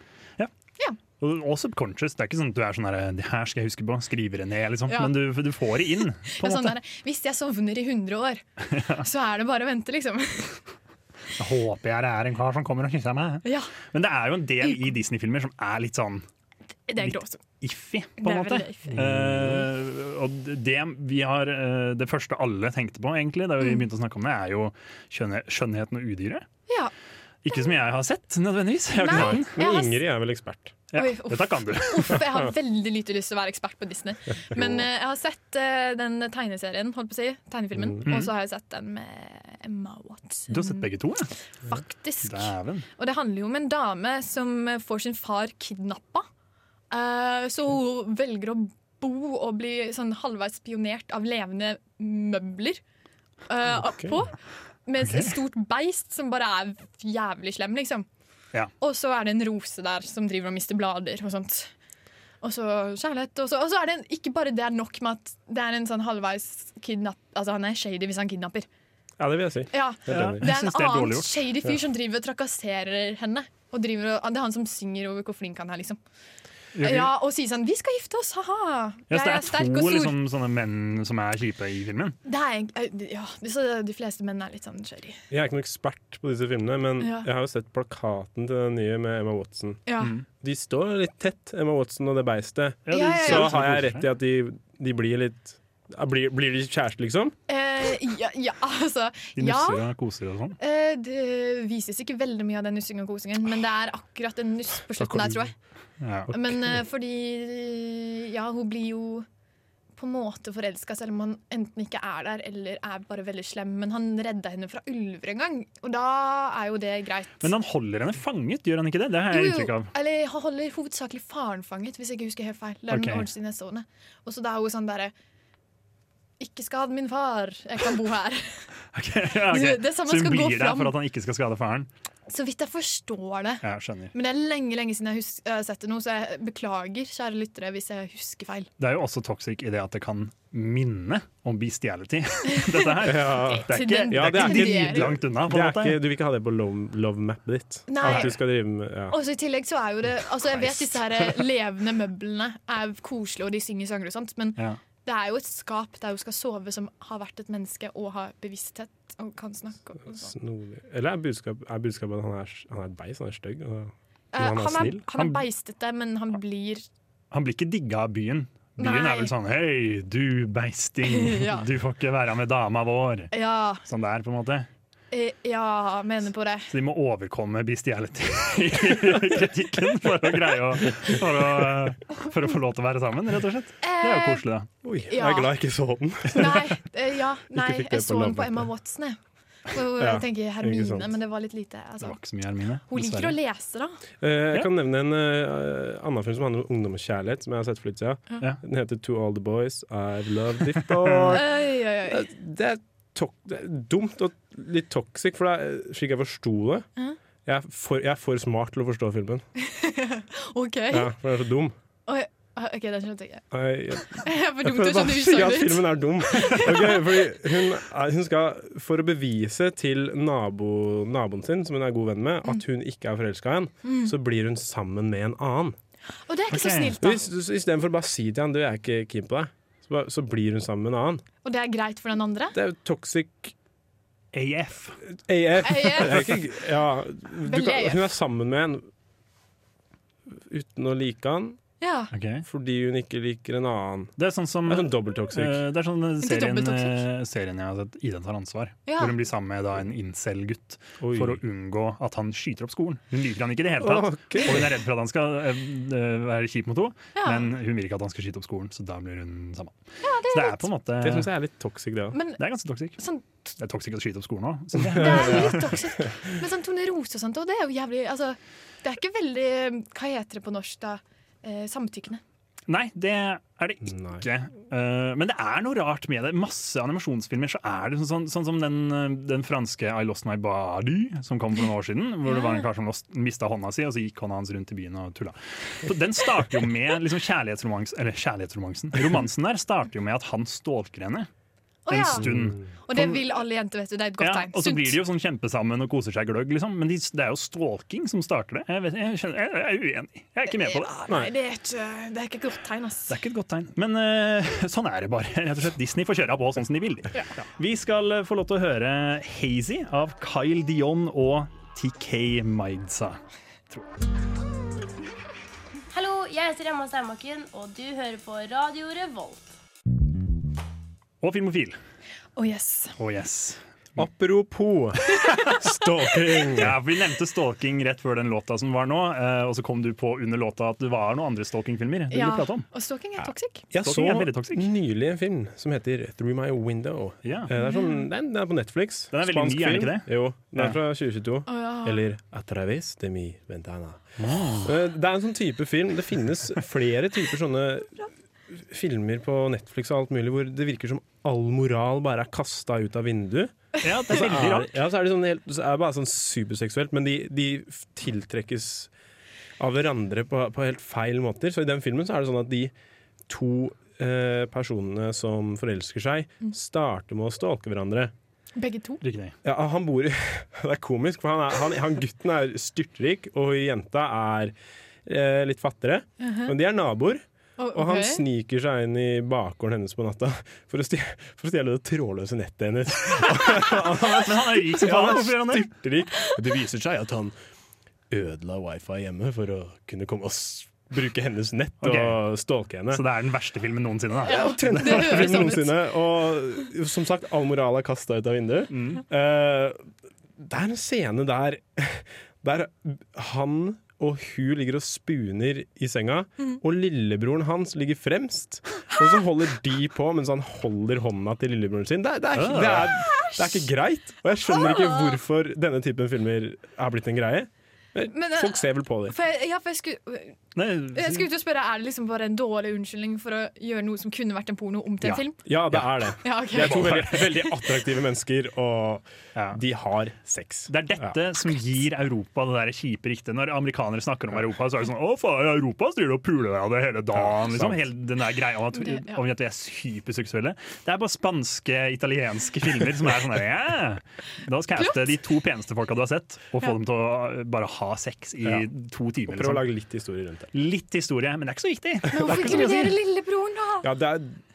S4: Og, og subconscious. Det er ikke sånn at du er sånn her Det her skal jeg huske på. Skriver det ned, liksom.
S8: Ja.
S4: Men du, du får det inn, på
S8: Ja,
S4: en
S8: sånn
S4: måte.
S8: der, hvis jeg sovner i 100 år, så er det bare å vente, liksom.
S4: Jeg håper jeg er en kar som kommer og kysser meg.
S8: Ja,
S4: Men det er jo en del i Disney-filmer som er litt sånn
S8: Det er
S4: Litt-
S8: gråsomt.
S4: iffy,
S8: Det
S4: på en
S8: er
S4: måte.
S8: veldig iffy.
S4: Eh, og det vi har eh, Det første alle tenkte på, egentlig, da vi
S8: Mm.
S4: begynte å snakke om det, er jo skjønne, skjønnheten og udyret.
S8: Ja.
S4: Ikke som jeg har sett, nødvendigvis. Jeg har ikke sett den.
S8: jeg
S9: Men
S8: har-
S9: Ingrid er vel ekspert.
S4: Ja,
S8: Oi, uff.
S4: dette kan du.
S8: Uff, jeg har veldig lite lyst til å være ekspert på Disney. Men eh, jeg har sett eh, den tegneserien, holdt på å si, tegnefilmen,
S4: Mm.
S8: og så har jeg sett den med Emma Watson.
S4: Du har sett begge to, ja?
S8: Faktisk.
S4: Dæven.
S8: Og det handler jo om en dame som eh, får sin far kidnappa. Eh, så hun velger å bo og bli sånn halvveis spionert av levende møbler eh,
S9: Ok.
S8: på. Med
S4: Ok.
S8: et stort beist som bare er jævlig slem, liksom.
S4: Ja.
S8: Og så er det en rose der som driver og mister blader og sånt. Og så kjærlighet. Og så, og så er det en, ikke bare det er nok med at det er en sånn halvveis kidnapp... Altså, han er shady hvis han kidnapper.
S9: Ja, det vil jeg si.
S8: Ja.
S9: Helt
S4: Ja.
S9: enig.
S8: Det
S4: Jeg
S8: er en
S4: synes det er dårlig
S8: annen
S4: gjort.
S8: shady fyr
S9: Ja.
S8: som driver og trakasserer henne. Og driver, og- det er han som synger over hvor flink han er, liksom.
S4: Ja, ok.
S8: Ja, Og sier sånn 'Vi skal gifte oss, ha-ha'.
S4: Ja, så
S8: Jeg
S4: det
S8: er
S4: er
S8: sterk
S4: to
S8: og stor.
S4: liksom, sånne menn som er kjipe i filmen.
S8: Det er, ja, så de fleste menn er litt sånn shady.
S9: Jeg er ikke noen ekspert på disse filmene, men
S8: Ja.
S9: jeg har jo sett plakaten til den nye med Emma Watson.
S8: Ja.
S4: Mm.
S9: De står litt tett, Emma Watson og det beistet.
S8: Ja, ja, ja.
S9: Så har jeg rett i at de, de blir litt ja, blir, blir de kjærester, liksom?
S8: Eh, Eh, ja, ja, altså
S4: De
S8: ja.
S4: nusser og koser og sånn.
S8: Eh, det vises ikke veldig mye av den nussingen og kosingen, men det er akkurat en nuss på slutten der, tror jeg.
S4: Ja.
S8: Men eh, fordi Ja, hun blir jo på en måte forelska, selv om han enten ikke er der eller er bare veldig slem. Men han redda henne fra ulver en gang, og da er jo det greit.
S4: Men han holder henne fanget, gjør han ikke det? Det har
S8: Jo,
S4: jeg
S8: jo,
S4: inntrykk av.
S8: Eller han holder hovedsakelig faren fanget, hvis jeg ikke husker helt feil. Det er
S4: Ok.
S8: noen år siden jeg så henne. Og så da er hun sånn derre Ikke skad min far, jeg kan bo her.
S4: Ja, ok.
S8: Det- det er sånn
S4: Så
S8: man
S4: hun
S8: skal gå
S4: blir der
S8: fram.
S4: for at han ikke skal skade faren?
S8: Så vidt jeg forstår det.
S4: Ja, skjønner.
S8: Men det er lenge lenge siden jeg hus- jeg har sett det nå, så jeg beklager, kjære lyttere, hvis jeg husker feil.
S4: Det er jo også toxic i det at det kan minne om bestiality. Dette her. Det er ikke,
S8: Til den-
S4: det er ikke
S8: til den-
S4: dritt langt unna. På
S9: Det
S4: en
S9: er
S4: måte.
S9: ikke, du vil ikke ha det på love, love mappet ditt?
S8: Nei.
S9: At du skal drive med ja.
S8: Og så i tillegg så er jo det Altså Jeg vet disse her levende møblene er koselige, og de synger sanger og sånt, men
S4: Ja.
S8: det er jo et skap der hun skal sove, som har vært et menneske og har bevissthet og kan snakke. Og sånt.
S9: Snodig. Eller er, budskap, er budskapet at han er, han er et beis, han er stygg? og- men
S8: Eh, han, er,
S9: snill?
S8: han er beistete, men han blir
S4: Han blir ikke digga av byen. Byen
S8: Nei.
S4: er vel sånn Hei, du beisting!
S8: Ja.
S4: Du får ikke være med dama vår!
S8: Ja,
S4: Sånn der, på en måte.
S8: eh, ja mener på det.
S4: Så de må overkomme bestiality-kritikken for å greie å for å, eh, for å få lov til å være sammen, rett og slett. Det er jo
S8: Eh,
S4: koselig, da.
S9: Oi,
S8: jeg er Ja. glad
S9: jeg ikke så den.
S8: Nei, eh, ja, nei
S4: fikk det
S8: jeg
S4: på
S8: så den på
S4: lavmåte.
S8: Emma Watson, jeg. Og
S9: Ja,
S8: jeg tenker
S9: ikke sant.
S8: Hermine, men det var litt lite. Altså. Hun liker å lese, da.
S9: Eh, jeg kan nevne en eh, annen film som handler om ungdom og kjærlighet, som jeg har sett for litt siden.
S8: Ja.
S9: Den heter To All The Boys I've Loved Before.
S8: Oi, oi, oi.
S9: Det- det, er tok, det er dumt og litt toxic, for det er, eh, slik jeg forsto det
S8: Mhm.
S9: jeg er, for, jeg er for smart til å forstå filmen.
S8: OK.
S9: Ja, for den er så dum.
S8: Oi, OK, den skjønte jeg ikke.
S9: Jeg, jeg,
S8: Jeg sånn er for
S9: jeg
S8: dum til
S9: prøver
S8: å
S9: bare
S8: skjønne
S9: å si at
S8: utsagnet ditt.
S9: filmen er dum. Ok, fordi hun, er- hun skal, for å bevise til nabo, naboen sin, som hun er god venn med, at hun ikke er forelska i han,
S8: Mm.
S9: så blir hun sammen med en annen.
S8: Og det er ikke så
S9: Ok.
S8: snilt, da.
S9: Hvis- så Istedenfor bare å si til han du jeg er ikke keen på deg, så, bare, så blir hun sammen med en annen.
S8: Og det er greit for den andre?
S9: Det er jo toxic
S4: AF.
S8: AF.
S9: AF. Det er ikke- Ja, du
S8: Veldig
S9: kan,
S8: AF.
S9: hun er sammen med en uten å like han.
S8: Ja.
S9: Fordi hun ikke liker en annen.
S4: Det er sånn som
S9: Det er sånn dobbelttoxic.
S4: Eh, det er sånn eh,
S9: Ikke
S4: serien,
S9: dobbelt toxic.
S4: eh, serien jeg har sett, Ida tar ansvar.
S9: Ja.
S4: Hvor hun blir sammen med da, en incel-gutt
S9: Oi.
S4: for å unngå at han skyter opp skolen. Hun liker han ikke i det hele tatt,
S9: Ok.
S4: og hun er redd for at han skal eh, eh, være kjip mot henne.
S8: Ja.
S4: Men hun vil ikke at han skal skyte opp skolen, så da blir hun sammen.
S8: Ja,
S4: Så
S8: det
S4: det
S8: er
S4: er på en måte
S9: Det syns jeg er litt toxic, det òg.
S8: Men-
S4: Det er ganske toxic.
S8: Sånn-
S4: Det er toxic å skyte opp skolen òg.
S8: Det er litt toxic. Men sånn Tone Rose og sånt, og det er jo jævlig altså, Det er ikke veldig Hva heter det på norsk, da? Eh, samtykkende.
S4: Nei, det er det ikke. Eh, men det er noe rart med det. Masse animasjonsfilmer så er det sånn, sånn, sånn som den, eh, den franske I Lost My Body, som kom for noen år siden. Hvor det var en kar som mista hånda si, og så gikk hånda hans rundt i byen og tulla. Så Den starter jo med liksom, kjærlighetsromans, eller kjærlighetsromansen. Romansen der starter jo med at han stalker henne
S8: Å,
S4: en
S8: ja.
S4: stund.
S8: Og det vil alle jenter, vet du. Det er et godt
S4: Ja,
S8: tegn.
S4: og så
S8: Sunt.
S4: blir de jo sånn kjempesammen og koser seg gløgg, liksom. Men de, det er jo stalking som starter det. Jeg, vet, jeg, skjønner, jeg, jeg er uenig. Jeg er ikke med på det.
S8: Ja, nei, det er ikke, det er ikke et godt tegn, ass.
S4: Det er ikke et godt tegn. Men eh, sånn er det bare. Rett og slett, Disney får kjøre på sånn som de vil. Ja. Vi skal eh, få lov til å høre 'Hazy' av Kyle Dion og TK Maidsa.
S13: Hallo, jeg heter Emma Steinbakken, og du hører på Radio Revolt.
S4: Og Filmofil.
S8: Oh, yes.
S4: Oh, yes.
S9: Apropos stalking.
S4: Ja, for Vi nevnte stalking rett før den låta som var nå, eh, og så kom du på under låta at det var noen andre stalkingfilmer du ville prate om.
S8: Og stalking er toxic.
S9: Jeg så
S4: Stalking er veldig toxic.
S9: nylig en film som heter 'Through My Window'.
S4: Ja.
S9: Eh, Det er sånn, den, den er på Netflix.
S4: Den er veldig ny, er den ikke det?
S9: Jo, den
S4: Ja.
S9: er fra 2022.
S4: Å, ja.
S9: Eller 'A través de mi ventana'.
S4: Ah.
S9: Eh, Det er en sånn type film. Det finnes flere typer sånne filmer på Netflix og alt mulig hvor det virker som all moral bare er kasta ut av vinduet.
S4: Altså, Ja, det er
S9: Og så
S4: veldig rart.
S9: Ja, så er det, sånn helt, så er det bare sånn superseksuelt, men de, de f- tiltrekkes av hverandre på, på helt feil måter. Så i den filmen så er det sånn at de to eh, personene som forelsker seg, starter med å stalke hverandre.
S8: Begge to.
S9: Ja, han bor i Det er komisk, for han, er, han, han gutten er styrtrik, og jenta er eh, litt fattigere.
S8: Mhm.
S9: Men de er naboer.
S8: Å,
S9: Og han
S8: ok.
S9: sniker seg inn i bakgården hennes på natta for å stjele, for å stjele det trådløse nettet hennes.
S4: Men han er rik som faen,
S9: Ja,
S4: hvorfor gjør han det?
S9: styrtrik. Og Det viser seg at han ødela wifi hjemme for å kunne komme og s- bruke hennes nett
S4: Ok.
S9: og stalke henne.
S4: Så det er den verste filmen noensinne, da?
S9: Ja, omtrent den verste
S8: sånn
S9: filmen noensinne. Og som sagt, all moral er kasta ut av vinduet.
S8: Mm.
S9: Eh, det er en scene der, der han og hun ligger og spooner i senga,
S14: Mhm.
S8: Mm.
S9: og lillebroren hans ligger fremst. Og så holder de på mens han holder hånda til lillebroren sin. Det, er- det, er,
S8: Ah.
S9: ikke- det, er, det er ikke greit. Og jeg skjønner ikke hvorfor denne typen filmer er blitt en greie.
S8: Men, eh,
S9: Folk ser vel på dem.
S8: For jeg, ja, for jeg skulle jeg skulle ut og spørre, Er det liksom bare en dårlig unnskyldning for å gjøre noe som kunne vært en porno, om til en film?
S9: Ja, det er det.
S8: Ja, ok.
S9: De er to veldig, veldig attraktive mennesker, og de har sex.
S4: Det er dette som gir Europa det der kjipe riktet. Når amerikanere snakker om Europa, så er det sånn Å, faen, Europa styrer og puler deg det hele
S9: Ja,
S4: dagen. Liksom.
S9: sant.
S4: Hele den der greia om at,
S9: Det- ja.
S4: om at vi er hyperseksuelle. Det er bare spanske, italienske filmer som er sånn der ja, Da skal jeg caste de to peneste folka du har sett, og få
S9: Ja.
S4: dem til å bare ha sex i
S9: Ja.
S4: to
S9: Og
S4: timer.
S9: prøv å
S4: Liksom.
S9: lage litt historie rundt det.
S4: Litt historie, men det er ikke så viktig. Det er
S8: Men
S4: ikke
S8: hvorfor
S4: så mye å si.
S8: inkludere lillebroren, da?
S9: Ja, det,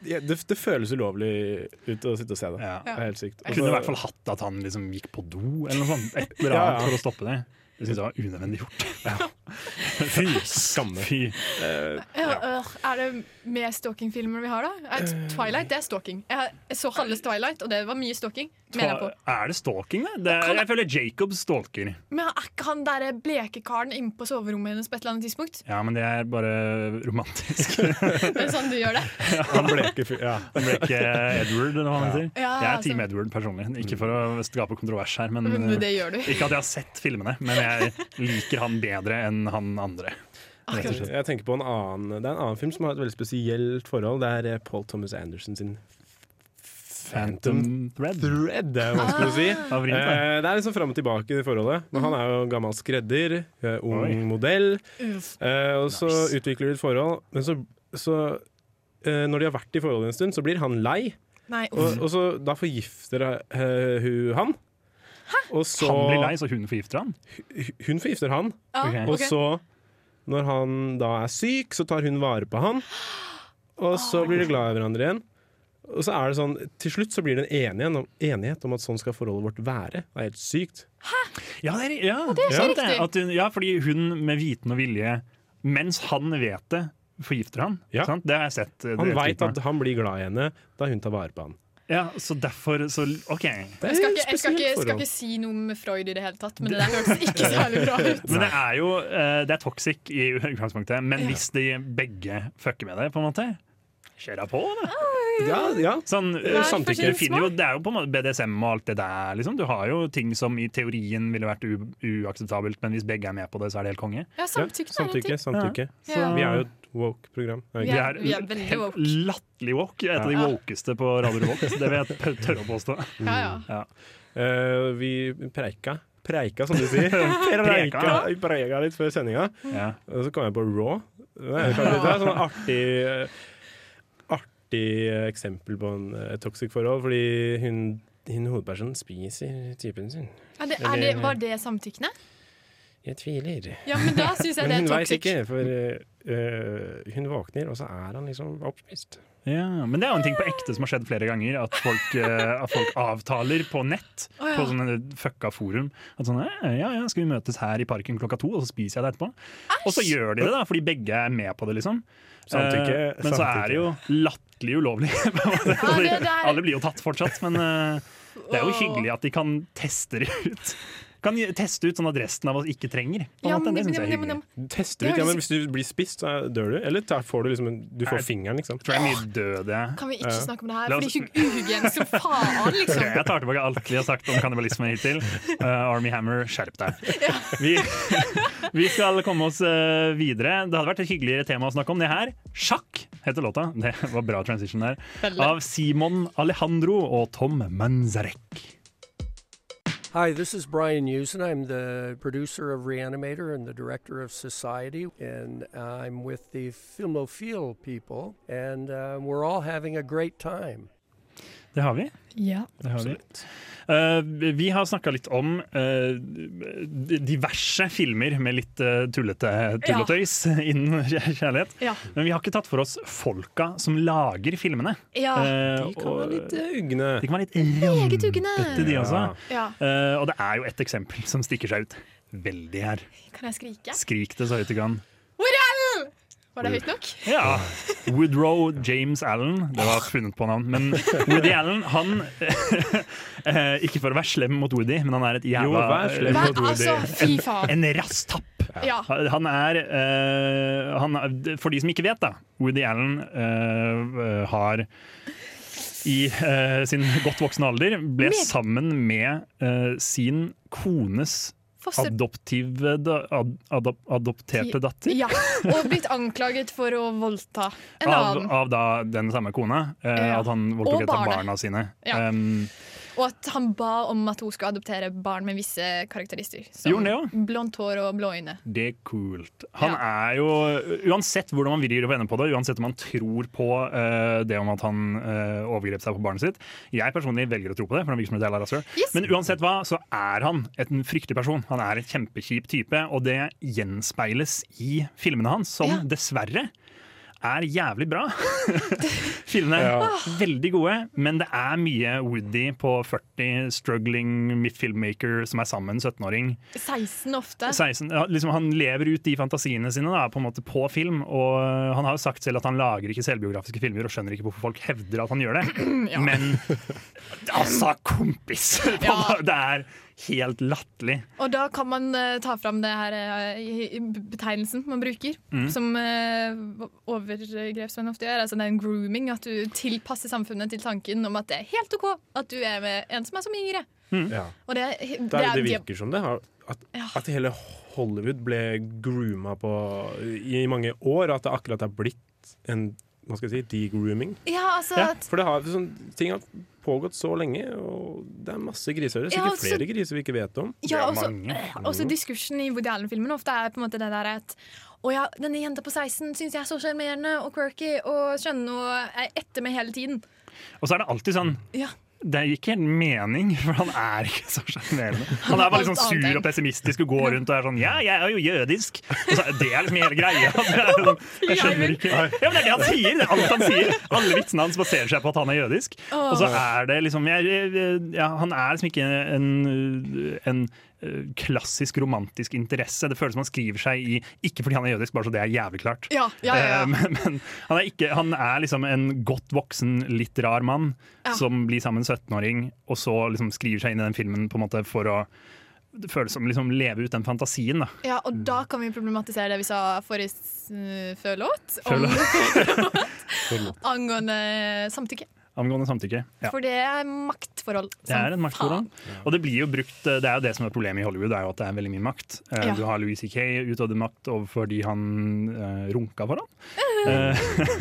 S9: er, det, det føles ulovlig ut å sitte og se det. Det er helt sykt.
S4: Jeg kunne i hvert fall hatt at han liksom gikk på do eller noe sånt. Et eller annet
S9: Ja, ja.
S4: for å stoppe det. Jeg synes det var unødvendig gjort. Fy skamme. Fy.
S8: Ja, øh, Er det mer stalking-filmer vi har, da? Er
S4: Eh.
S8: Twilight, det er stalking. Jeg, har- jeg så halve Twilight, og det var mye stalking. Mener jeg på.
S4: Er det stalking, det? det er, jeg føler Jacob stalker.
S8: Men er ikke han der bleke karen inne på soverommet hennes på et eller annet tidspunkt?
S4: Ja, men det er bare romantisk.
S8: Det er sånn du gjør det.
S9: Altså, Han ble ikke fyr, ja.
S4: Han ble ikke Edward, eller hva han heter.
S8: Ja,
S4: jeg er
S8: altså.
S4: Team eh. Edward personlig. Ikke for å skape kontrovers her, men,
S8: Men det gjør du.
S4: ikke at jeg har sett filmene. Men jeg liker han bedre enn han andre. Rett og slett.
S9: Jeg tenker på en annen Det er en annen film som har et veldig spesielt forhold. Det er eh, Paul Thomas Anderson sin Phantom
S4: Thread.
S9: Det er vanskelig å si.
S4: Ah. Av Rint, da.
S9: Eh, det er liksom fram og tilbake i det forholdet. Men han er jo gammel skredder, eh, ung
S4: Oi.
S9: modell.
S4: Uff.
S9: Eh, og så utvikler de et forhold, men så, så eh, Når de har vært i forholdet en stund, så blir han lei.
S8: Nei,
S9: Og,
S4: Mm.
S8: uff.
S9: og så da forgifter eh, hun han. Og så,
S4: Han blir lei, så hun forgifter han?
S9: Hun forgifter han.
S8: Ja, Ok.
S9: Og
S8: ok.
S9: så, når han da er syk, så tar hun vare på han. Og så blir de glad i hverandre igjen. Og så er det sånn, Til slutt så blir det en enighet om, enighet om at sånn skal forholdet vårt være. Det er helt sykt.
S4: Ja, det er, ja.
S9: det er så
S4: sant
S9: riktig.
S4: At hun, ja, fordi hun med viten og vilje, mens han vet det, forgifter han. Sant? Det har jeg sett. eh,
S9: Han
S4: det-
S9: veit at han blir glad i henne da hun tar vare på han.
S4: Ja, så derfor så OK.
S8: Jeg skal
S4: Eh,
S8: ikke, jeg skal ikke,
S9: spesielt
S8: skal ikke si noe med Freud i det hele tatt, men det der hørtes ikke særlig bra ut.
S4: Men det er jo eh, Det er toxic i utgangspunktet, men
S8: Ja.
S4: hvis de begge fucker med det, på en måte Kjør deg på, da!
S9: Ja, ja.
S4: Sånn,
S9: Vær
S4: samtykke.
S9: forsiktig.
S4: Du finner jo, det er jo på en måte BDSM og alt det der. Liksom. Du har jo ting som i teorien ville vært u uakseptabelt, men hvis begge er med på det, så er det helt konge.
S8: Ja, samtykke er en ting.
S9: Samtykke. samtykke.
S8: Ja. Så-
S9: Vi er jo et woke-program. er vi
S8: Vi
S9: ikke?
S8: er- vi er veldig
S4: helt
S8: woke.
S4: latterlig woke. Et av de
S9: Ja.
S4: wokeste på Radio Revolt. Det vil jeg p- tørre å påstå.
S8: Ja, ja.
S9: Eh, vi preika. Preika, som du sier.
S4: Preika.
S9: preika. Vi preika litt før sendinga.
S4: Ja.
S9: Og så kom jeg på Raw. Det er, kanskje- det er et sånn artig eh, Artig eksempel på en eh, toxic forhold, fordi hun, hun hovedpersonen spiser typen sin.
S4: Mm.
S8: Er det, er det, var det samtykkende?
S9: Jeg tviler.
S8: Ja, men da synes jeg det
S9: Men
S8: er
S9: hun vet
S8: toxic.
S9: ikke, for eh, eh, hun våkner, og så er han liksom oppspist.
S4: Ja, men det er jo en ting på ekte som har skjedd flere ganger. At folk, eh, at folk avtaler på nett,
S9: Å, ja.
S4: på sånne fucka forum. At sånn, «Eh, ja, ja, skal vi møtes her i parken klokka to, og så spiser jeg det etterpå? Og så gjør de det, da, fordi begge er med på det, liksom.
S9: Samtykke,
S4: Eh, men så er det jo latterlig ulovlig. på en måte.
S9: det er-
S4: Alle blir jo tatt fortsatt, men eh, det er jo hyggelig at de kan teste det ut. Kan de teste ut sånn at resten av oss ikke trenger. på en
S8: Ja,
S4: måte.
S8: men-
S4: det synes jeg er
S8: men- men-
S4: hyggelig.
S9: Tester
S8: liksom
S9: ut, ja, men Hvis du blir spist, så dør du. Eller tar, får du liksom en, Du får fingeren, liksom.
S4: Tror jeg er mye død, jeg.
S8: Kan vi ikke
S4: Ja.
S8: snakke om det her?
S4: Eh, La
S8: For det
S4: oss-
S8: er ikke uhygienisk som faen, liksom.
S4: Jeg tar tilbake alt vi har sagt om kannibalisme hittil. Uh, Army Hammer, skjerp deg. Vi, vi skal komme oss uh, videre. Det hadde vært et hyggeligere tema å snakke om det her. Sjakk heter låta. Det var bra transition der.
S10: Veldig.
S4: Av Simon Alejandro og Tom Manzarek.
S15: Hi, this is Brian Usen. I'm the producer of Reanimator and the director of Society, and uh, I'm with the Filmophile people, and uh, we're all having a great time.
S4: Det har vi.
S8: Ja.
S4: Det har vi. Eh, vi har snakka litt om eh, diverse filmer med litt eh, tullete tull og
S8: Ja.
S4: tøys innen kjær- kjærlighet.
S8: Ja.
S4: Men vi har ikke tatt for oss folka som lager filmene.
S8: Ja.
S4: Eh,
S8: Ah, De kan være
S4: og-
S8: litt,
S9: eh, ugne.
S4: De kan være litt
S8: Meget ugne.
S4: rampete, de også.
S8: Ja.
S4: Eh, og det er jo et eksempel som stikker seg ut veldig her.
S8: Kan jeg skrike?
S4: Skrik det så høyt du kan.
S8: Hvor er den? Var det høyt nok?
S4: Ja. Woodrow James Allen. Det var funnet på navn. Men Woody Allen, han eh, Ikke for å være slem mot Woody, men han er et jævla eh,
S9: Jo, vær slem
S8: Vær- mot Woody. altså, fy faen.
S4: En, en rasstapp.
S8: Ja.
S4: Han er eh, han, er- For de som ikke vet, da. Woody Allen eh, har i eh, sin godt voksne alder ble
S8: Med-
S4: sammen med eh, sin kones
S8: Foster-
S4: adoptive da- ad, adop- adopterte datter.
S8: Ja, og blitt anklaget for å voldta en
S4: Av,
S8: annen.
S4: av da den samme kona. eh,
S8: Ja.
S4: At han
S8: Og
S4: voldtok et av
S8: barnet.
S4: barna sine.
S8: Ja.
S4: Um,
S8: Og at han ba om at hun skulle adoptere barn med visse karakterister.
S4: Gjorde han
S8: blondt hår og blå øyne.
S4: det er kult. Han er jo Uansett hvordan man vrir og vender på det, uansett om man tror på eh, det om at han eh, overgrep seg på barnet sitt Jeg personlig velger å tro på det, for han virker som et jævla rasshøl. Men uansett hva, så er han et, en fryktelig person. Han er en kjempekjip type, og det gjenspeiles i filmene hans, som dessverre er jævlig bra. Filmene er veldig gode, men det er mye Woody på 40, struggling filmmaker som er sammen, 17-åring.
S8: 16 ofte.
S4: 16, ja, liksom han lever ut de fantasiene sine da, på en måte på film. Og eh, han har jo sagt selv at han lager ikke selvbiografiske filmer og skjønner ikke hvorfor folk hevder at han gjør det.
S8: Ja.
S4: Men altså, kompis!
S8: Ja.
S4: Det er helt latterlig.
S8: Og da kan man eh, ta fram det her eh, i- i betegnelsen man bruker,
S4: Mm.
S8: som uh, overgrepsmenn ofte gjør. Altså det er en grooming, at du tilpasser samfunnet til tanken om at det er helt OK at du er med en som er som yngre.
S9: Ja.
S8: Og det,
S9: Det, er, det
S8: de-
S9: virker som det. har- At, at hele Hollywood ble grooma på i mange år. At det akkurat er blitt en hva skal jeg si, degrooming.
S8: Ja, altså
S9: Ja,
S8: at-
S9: for det har, sånn, ting har pågått så lenge, og det er masse grisehører.
S8: Ja,
S9: Sikkert
S8: altså-
S9: flere griser vi ikke vet om.
S8: Ja, også, også diskursen i Woody Allen-filmen ofte er på en måte det der at å ja, denne jenta på 16 syns jeg er så sjarmerende og quirky og skjønne og er etter meg hele tiden.
S4: Og så er det alltid sånn
S8: Ja.
S4: det gir ikke helt mening, for han er ikke så sjarmerende. Han er bare litt sånn
S8: Alt annet
S4: sur
S8: enn-
S4: og pessimistisk og går rundt og er sånn Ja, jeg er jo jødisk! Og så, det er liksom hele greia. Det er sånn, jeg skjønner ikke Ja, men Det er det han sier! Det er alt han sier. Alle vitsene hans baserer seg på at han er jødisk. Og så er det liksom jeg, jeg- ja, Han er liksom ikke en, en eh, klassisk romantisk interesse. Det føles som han skriver seg i Ikke fordi han er jødisk, bare så det er jævlig klart.
S8: Ja, ja, ja, ja.
S4: Eh, Men, men han, er ikke, han er liksom en godt voksen, litt rar mann
S8: Ja.
S4: som blir sammen med en 17-åring, og så liksom skriver seg inn i den filmen på en måte for å det føles som liksom leve ut den fantasien. da
S8: Ja, og
S4: Mm.
S8: da kan vi problematisere det vi sa forrige uh, før låt, om, angående samtykke.
S4: Angående samtykke. Ja.
S8: For det er maktforhold.
S4: Det er en maktforhold. Og det blir jo brukt eh, Det er jo det som er problemet i Hollywood, det er jo at det er veldig mye makt. Eh,
S8: Ja.
S4: Du har Louis C.K. utøvd makt overfor de han eh, runka foran. Eh,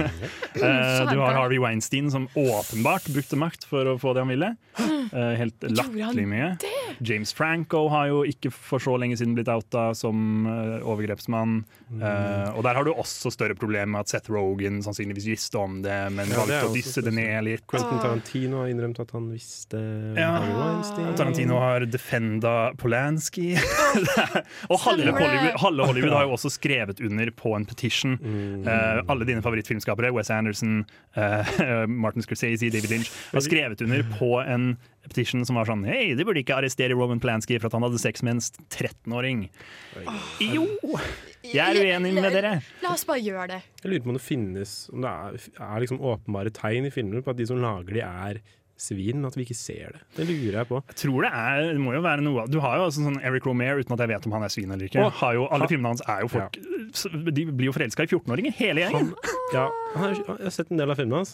S4: eh, du har Harvey Weinstein som åpenbart brukte makt for å få det han ville. Eh, helt
S8: Gjorde han
S4: latterlig mye. James Franco har jo ikke for så lenge siden blitt outa som eh, overgrepsmann.
S9: Mm.
S4: Eh, og der har du også større problem med at Seth Rogan sannsynligvis visste om det, men
S9: Ja, det
S4: valgte
S9: er
S4: å
S9: også
S4: dysse det ned litt.
S9: Quentin Tarantino har innrømt at han visste Harvey Weinstein.
S4: Tarantino har defenda Polanski. og halve
S9: Stemmer det.
S4: Hollywood, halve Hollywood har jo også skrevet under på en petition.
S9: Mm.
S4: Eh, alle dine favorittfilmskapere, Wes Anderson, eh, Martin Scorsese, David Lynch, har skrevet under på en petition som var sånn Hei, de burde ikke arrestere Roman Polanski for at han hadde sex med en 13-åring. Jo! Jeg er uenig med dere.
S8: La oss bare gjøre det.
S9: Jeg lurer på om det finnes Om det er, er liksom åpenbare tegn i filmer på at de som lager de, er svin, men at vi ikke ser det. Det lurer jeg på.
S4: Jeg tror det er, det må jo være noe av- Du har jo også sånn Eric Romare, uten at jeg vet om han er svin eller ikke.
S9: Å,
S4: har jo, alle
S9: ha-
S4: filmene hans er jo folk så De blir jo forelska i 14-åringer, hele gjengen.
S9: Ja, han har- jeg har sett en del av filmene hans.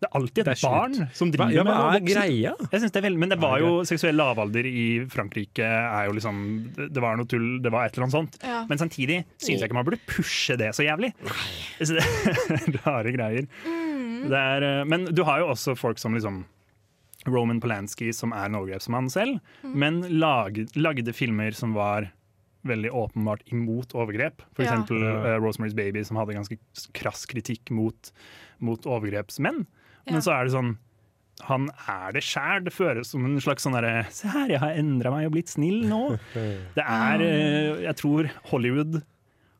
S4: Det er alltid et barn som driver
S9: Hva- ja,
S4: med
S9: hva
S4: noe
S9: er
S4: voksen.
S9: greia?
S4: Jeg synes det er veldig, men det
S9: Hva
S4: var
S9: er
S4: jo seksuell lavalder i Frankrike er jo liksom, Det var noe tull, det var et eller annet sånt.
S9: Ja.
S4: Men samtidig syns jeg ikke man burde pushe det så jævlig. Så det Rare greier.
S9: Mm.
S4: Det er, eh, men du har jo også folk som liksom Roman Polanski, som er en overgrepsmann selv,
S9: Mm.
S4: men lag, lagde filmer som var veldig åpenbart imot overgrep. For
S9: Ja.
S4: eksempel
S9: Ja.
S4: eh, Rosemary's Baby, som hadde ganske krass kritikk mot, mot overgrepsmenn.
S9: Ja.
S4: Men så er det sånn han er det sjæl. Det føres som en slags sånn derre Se her, jeg har endra meg og blitt snill nå. Det
S8: Ah.
S4: er eh, Jeg tror Hollywood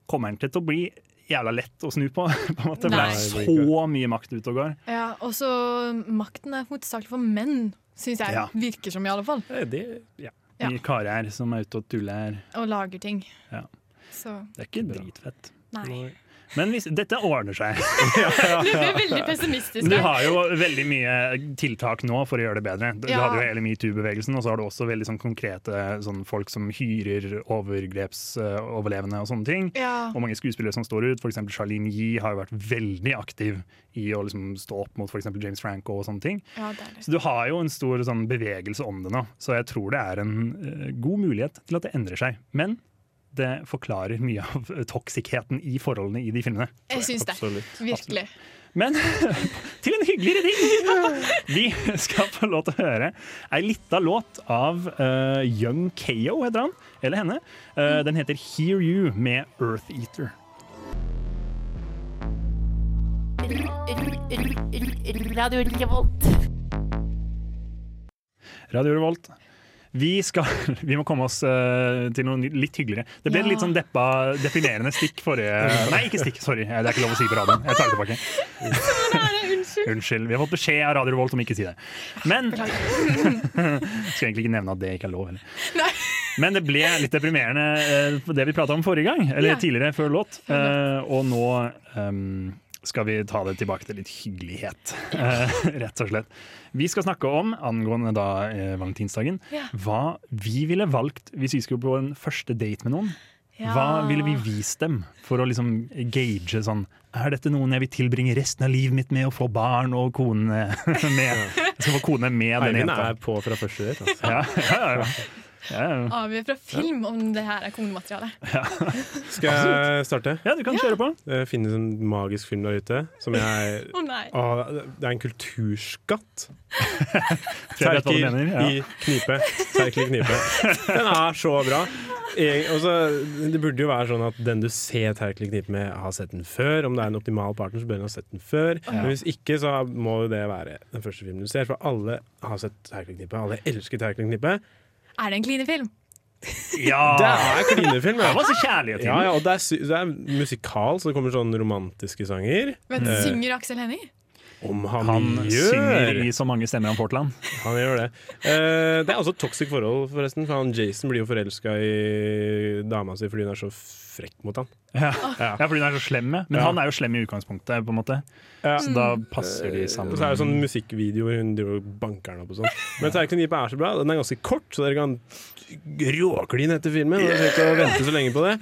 S4: kommer til å bli jævla lett å snu på. på en måte. For
S8: Nei.
S4: Det er så mye makt ute og går.
S8: Ja, og så makten er hovedsakelig for menn, syns jeg.
S4: Ja.
S8: Virker som, i alle fall.
S4: ja.
S8: Ja.
S4: Mye karer her som er ute og tuller her.
S8: Og lager ting.
S4: Ja.
S8: Så
S4: Det er ikke dritfett.
S8: nei.
S4: Men hvis, dette ordner seg.
S8: Du ble veldig pessimistisk
S4: Du
S8: her.
S4: har jo veldig mye tiltak nå for å gjøre det bedre. Du, du
S8: Ja.
S4: hadde jo hele metoo-bevegelsen, og så har du også veldig sånn konkrete sånn folk som hyrer overgrepsoverlevende og sånne ting.
S8: Ja.
S4: Og mange skuespillere som står ut. For eksempel Charlene Yee har jo vært veldig aktiv i å liksom stå opp mot for eksempel James Franco og sånne ting.
S8: Ja, det er det.
S4: Så du har jo en stor sånn, bevegelse om det nå, så jeg tror det er en eh, god mulighet til at det endrer seg. Men det forklarer mye av eh, toksikheten i forholdene i de filmene.
S8: Jeg syns det. Virkelig.
S4: Men til en hyggeligere ting! Vi skal få lov til å høre ei lita låt av eh, Young Keo, heter han. Eller henne. Eh, den heter Hear You med Earth Eater.
S13: Radio Revolt.
S4: Radio Revolt. Vi, skal, vi må komme oss eh, til noe ny- litt hyggeligere. Det ble
S13: Ja.
S4: litt sånn deppa, deprimerende stikk forrige Nei, ikke stikk, sorry. Det er ikke lov å si på radioen. Jeg tar det tilbake.
S8: Unnskyld.
S4: Unnskyld. Vi har fått beskjed av Radio Revolt om ikke å si det. Men Skal egentlig ikke nevne at det ikke er lov heller. Men det ble litt deprimerende eh, det vi prata om forrige gang, eller
S8: Ja.
S4: tidligere, før låt. Eh, og nå ehm, skal vi ta det tilbake til litt hyggelighet, eh, rett og slett. Vi skal snakke om, angående da eh, valentinsdagen,
S8: Ja.
S4: hva vi ville valgt hvis vi skulle på en første date med noen.
S8: Ja.
S4: Hva ville vi vist dem for å liksom gage sånn Er dette noen jeg vil tilbringe resten av livet mitt med å få barn og kone med? Jeg skal få kone med den
S9: Eivind
S4: jenta.
S9: er på fra første date. Altså.
S4: Ja, ja, ja. ja, ja.
S8: Avgjør fra film om det her er konemateriale.
S9: Skal jeg starte?
S4: Ja, du kan kjøre på.
S9: Det finnes en magisk film der ute som jeg
S8: Å, nei.
S9: Å, Det er en kulturskatt.
S4: Tror jeg vet hva du mener, ja.
S9: i knipe. Terkel i knipe. Den er så bra. Eg- og så- det burde jo være sånn at den du ser Terkel i knipe med, har sett den før. Om det er en optimal partner, så bør den ha sett den før.
S4: Ja.
S9: Men hvis ikke, så må jo det være den første filmen du ser. For alle har sett Terkel i knipe. Alle elsker Terkel i knipe.
S8: Er det en klinefilm?
S4: Ja!
S9: Det er klinefilm.
S4: Ah.
S9: ja.
S4: Det var så kjærlighet i den.
S9: Ja, ja, og det er, sy- det er musikal, så det kommer sånne romantiske sanger.
S8: Men
S9: Eh,
S8: synger Aksel Hennie?
S9: om han,
S4: Han
S9: gjør
S4: synger i så mange stemmer han får til han.
S9: Han gjør det. Eh, det er også et toxic forhold, forresten. For han Jason blir jo forelska i dama si fordi hun er så frekk mot han.
S4: Ja. Ah. ja, fordi hun er så slem med. Men
S9: Ja.
S4: han er jo slem i utgangspunktet, på en måte. Så da passer de sammen.
S9: Og så er det sånn musikkvideo hvor hun driver og banker han opp og sånn. Men Terkel Nipe er så bra. Den er ganske kort, så dere kan råkline etter filmen. Og dere trenger ikke å vente så lenge på det.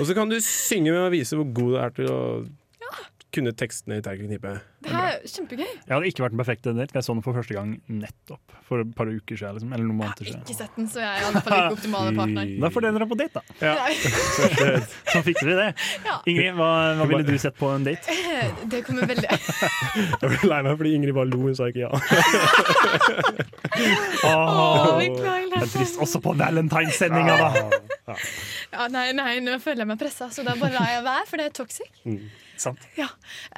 S9: Og så kan du synge med og vise hvor god du er til å kunne tekstene i Terkel Nipe.
S8: Det her er kjempegøy.
S4: Jeg hadde ikke vært den perfekte date, for jeg så den for første gang nettopp. For et par uker siden, liksom. Eller noen måneder siden.
S8: Ikke sett den, så jeg er i alle fall ikke optimale partner.
S4: Da får dere dra på date, da.
S8: Nei.
S4: Så fikser vi det.
S8: Ja.
S4: Ingrid, hva, hva ville du sett på en date?
S8: Eh, Det kommer veldig
S9: Jeg ble lei meg fordi Ingrid bare lo, hun sa ikke ja.
S4: Åh,
S8: beklager,
S4: det er trist også på valentinesendinga, da.
S8: ja, Nei, nei, nå føler jeg meg pressa, så da bare lar jeg være, for det er toxic.
S4: Mm, Sant.
S8: Ja.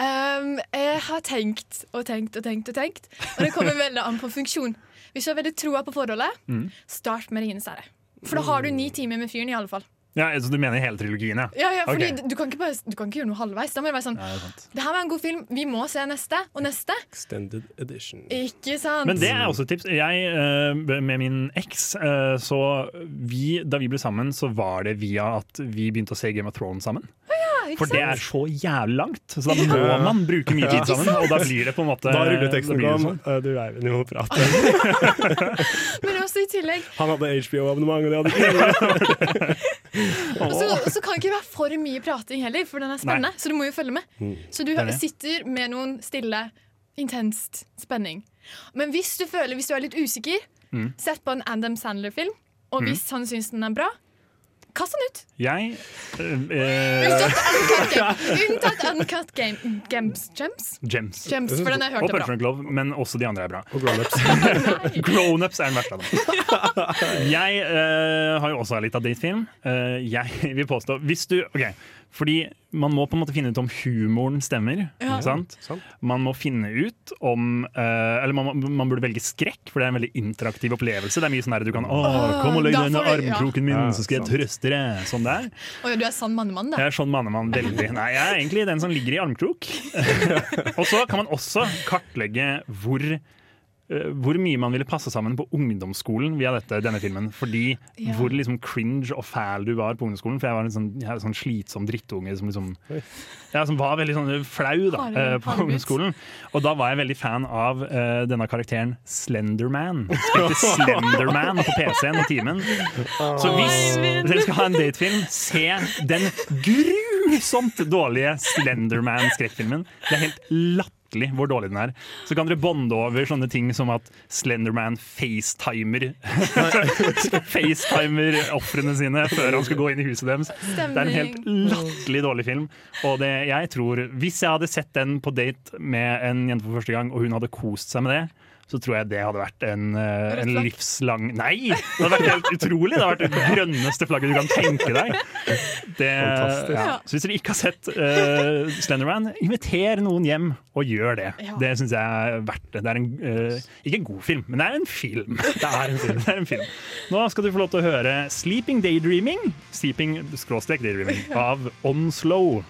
S8: Ehm, jeg har tenkt og tenkt og tenkt og tenkt, og det kommer veldig an på funksjon. Hvis du har veldig troa på forholdet,
S4: Mm.
S8: start med Ringenes herre. For da har du ni timer med fyren, i alle fall.
S4: Ja, så du mener hele trilogien, ja?
S8: Ja, ja, fordi
S4: Ok.
S8: du, kan ikke bare, du kan ikke gjøre noe halvveis. Da må det være sånn
S4: Nei, det er sant.
S8: Det her var en god film, vi må se neste og neste.
S9: Extended edition.
S8: Ikke sant?
S4: Men det er også et tips. Jeg, eh, med min eks, eh, så vi, da vi ble sammen, så var det via at vi begynte å se Game of Thrones sammen.
S8: ja, ikke
S4: For det er
S8: sant?
S4: så jævlig langt, så da
S9: Ja.
S4: må man bruke mye
S9: Ja.
S4: tid sammen. Og da blir det på en måte
S9: Da
S4: da
S9: rulleteksten
S4: blir det
S9: kom.
S4: sånn.
S9: eh, Du Eivind, vi må prate.
S8: Men også i tillegg
S9: Han hadde HBO-abonnement, og det hadde ikke
S8: Og så, og så kan det ikke være for mye prating heller, for den er spennende. Så du må jo følge med.
S4: Mm.
S8: Så du
S9: Det er det.
S8: sitter med noen stille, intenst spenning. Men hvis du føler, hvis du er litt usikker,
S4: Mm.
S8: sett på en Adam Sandler-film. Og
S4: Mm.
S8: hvis han syns den er bra, kast den ut!
S4: Jeg eh, eh,
S8: Unntatt Uncut Game. Unntatt Uncut Game. Gems, gems?
S4: Gems.
S8: Gems, for den har jeg hørt
S4: og
S8: er bra.
S4: Punch Love, men også de andre er bra.
S9: Og Grownups.
S4: Grownups er den verste av dem. Jeg eh, har jo også litt av datefilm. Eh, jeg vil påstå Hvis du ok, fordi man må på en måte finne ut om humoren stemmer.
S9: Ja.
S4: Ikke sant?
S9: Sant.
S4: Man må finne ut om eh, Eller man, må- man burde velge skrekk, for det er en veldig interaktiv opplevelse. Det er mye sånn der du kan Å, kom og legg
S8: Da
S4: deg under
S8: får du- ja.
S4: armkroken min,
S9: Ja,
S4: så skal jeg
S9: sant.
S4: trøste deg. Sånn det er.
S8: Å ja, du er sann mannemann, da.
S4: Jeg er sånn mannemann veldig. Nei, jeg er egentlig den som ligger i armkrok. og så kan man også kartlegge hvor eh, hvor mye man ville passe sammen på ungdomsskolen via dette, denne filmen. Fordi
S14: Ja.
S4: hvor liksom cringe og fæl du var på ungdomsskolen. For jeg var en sånn, jeg er en sånn slitsom drittunge som liksom ja, Som var veldig sånn flau da,
S14: Harde-
S4: eh, på
S14: harde gutt.
S4: ungdomsskolen. Og da var jeg veldig fan av eh, denne karakteren Slenderman. Spilte Slenderman på PC-en i timen. Så hvis dere skal ha en datefilm, se den grusomt dårlige Slenderman-skrekkfilmen. Det er helt latterlig hvor dårlig den er. Så kan dere bonde over sånne ting som at Slenderman facetimer Facetimer ofrene sine før han skal gå inn i huset deres. Det er en helt latterlig dårlig film. Og det, jeg tror, Hvis jeg hadde sett den på date med en jente for første gang, og hun hadde kost seg med det, så tror jeg det hadde vært en, eh, en livslang Nei! Det hadde vært helt utrolig! Det hadde vært det grønneste flagget du kan tenke deg. Det,
S14: Fantastisk.
S4: ja. Så hvis dere ikke har sett eh, Slenderman, inviter noen hjem og gjør det.
S14: Ja.
S4: Det syns jeg er verdt det. det er en, eh, ikke en god film, men det er en film. Det er en film. Det er en film. Nå skal du få lov til å høre 'Sleeping Daydreaming', sleeping skråstrek daydreaming, av Onslow.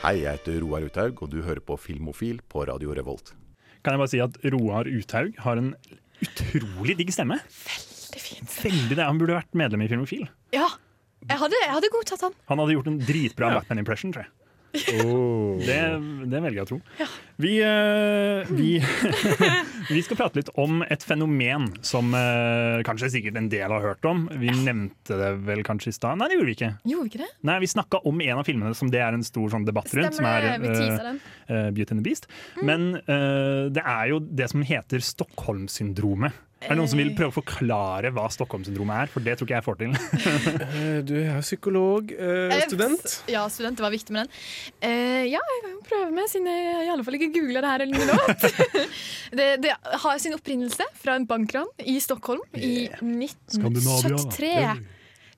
S16: Hei, jeg heter Roar Uthaug, og du hører på Filmofil på Radio Revolt.
S4: Kan jeg bare si at Roar Uthaug har en utrolig digg stemme.
S8: Veldig fin.
S4: Veldig det. Han burde vært medlem i Filmofil.
S8: Ja. Jeg hadde, jeg hadde godtatt han.
S4: Han hadde gjort en dritbra Batman impression, tror jeg. Det, det velger jeg å tro. Vi, eh, vi, vi skal prate litt om et fenomen som eh, kanskje sikkert en del har hørt om. Vi nevnte det vel kanskje i stad? Nei, det gjorde vi ikke.
S8: Gjorde vi ikke det?
S4: Nei, Vi snakka om en av filmene som det er en stor sånn debatt rundt. Som
S8: Stemmer
S4: er,
S8: det, vi teaser
S4: eh,
S8: Mm. den.
S4: eh, Beauty and the Beast. Men eh, det er jo det som heter Stockholm-syndromet. Er det noen
S8: Eh.
S4: som vil prøve å forklare hva Stockholm-syndromet er? For det tror ikke jeg får til.
S9: Eh, Du er jo psykolog, eh,
S8: Eh,
S9: student.
S8: s- Ja, student. Det var viktig med den. Eh, ja, jeg kan jo prøve med, siden jeg i alle fall ikke googla det her eller noe annet. det, det har sin opprinnelse fra en bankran i Stockholm i 1973.
S4: Skandinavia.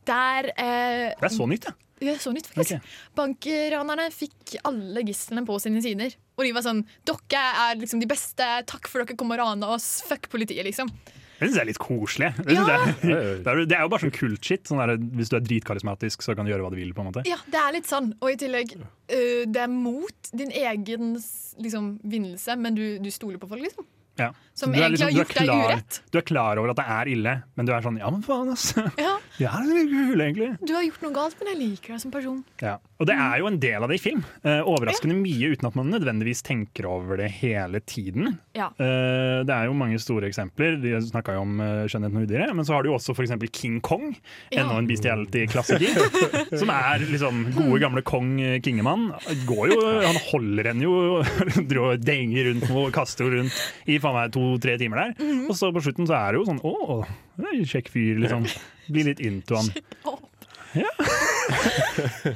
S8: Der eh,
S4: Det er så nytt, ja.
S8: Ja, så nytt, faktisk. Bankranerne fikk alle gislene på sine sider. Og de var sånn Dere er liksom de beste. Takk for dere kom og rana oss. Fuck politiet, liksom.
S4: Det syns jeg er litt koselig. Det, synes jeg, det, er, jo- det er jo bare sånn kult shit. Sånn der, hvis du er dritkarismatisk, så kan du gjøre hva du vil. på en måte
S8: Ja, det er litt sånn. Og i tillegg, øh, det er mot din egen s- liksom, vinnelse, men du, du stoler på folk, liksom.
S4: Ja.
S8: Som
S4: Så du er liksom
S8: egentlig har
S4: du er
S8: gjort deg
S4: klar-
S8: urett.
S4: Du er klar over at det er ille, men du er sånn ja, men faen, ass.
S8: Ja,
S4: Det er litt kul, egentlig.
S8: du har gjort noe galt, men jeg liker deg som person.
S4: Ja. Og det er jo en del av det i film. Eh, overraskende mye uten at man nødvendigvis tenker over det hele tiden.
S8: Ja.
S4: Eh, det er jo mange store eksempler. De snakka jo om eh, skjønnheten og udyret. Men så har du jo også f.eks. King Kong,
S14: Ja.
S4: enda en bestiality-klassiker. som er liksom gode gamle kong eh, Kingemann. Går jo, han holder henne jo dro- denger rundt og kaster henne rundt i faen meg to-tre timer der.
S14: Mhm.
S4: Og så på slutten så er det jo sånn å, det er en kjekk fyr, liksom. Blir litt into han.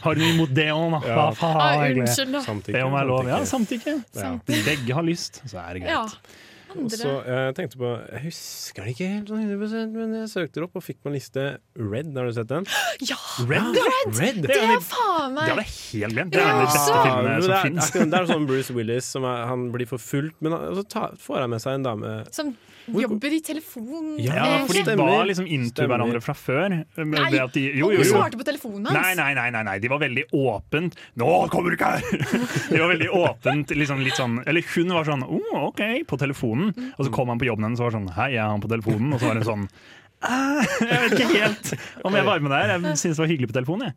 S4: Har du noe imot det Sånn òg, da? Hva
S14: Ja.
S4: faen?
S14: Ah,
S4: egentlig?
S14: unnskyld, da. Samtykke,
S4: Det må være lov. Ja, samtykke.
S14: samtykke.
S4: Ja.
S14: Samtykke.
S4: Hvis begge har lyst, så er det greit.
S14: Ja.
S9: Og så eh, tenkte jeg på Jeg husker det ikke helt sånn 100 men jeg søkte det opp og fikk på en liste Red. Har du sett den?
S8: Ja!
S9: Red!
S8: Red! Det er faen meg
S4: helt glemt.
S8: Det er en av de beste
S9: Ja,
S4: filmene
S9: men
S4: som
S9: det er-
S4: finnes.
S9: akkurat- Det er sånn Bruce Willis som er, han blir forfulgt, men han- så ta, får han med seg en dame
S8: Som jobber i telefon...
S4: Ja,
S8: eh,
S4: for de
S8: skjønner.
S4: var liksom into
S9: Stemmer.
S4: hverandre fra før.
S8: Nei,
S4: Ved at de, jo,
S8: og
S4: jo,
S8: hun
S4: jo.
S8: svarte på telefonen hans.
S4: Nei, nei, nei, nei, nei, de var veldig åpent. 'Nå kommer du ikke her!' De var veldig åpent, liksom litt sånn Eller hun var sånn 'Å, OK', på telefonen. Og så kom han på jobben hennes og var sånn 'Hei, jeg er han på telefonen', og så var hun sånn «Eh, Jeg vet ikke helt om jeg var med der. Jeg synes det var hyggelig på telefonen, jeg.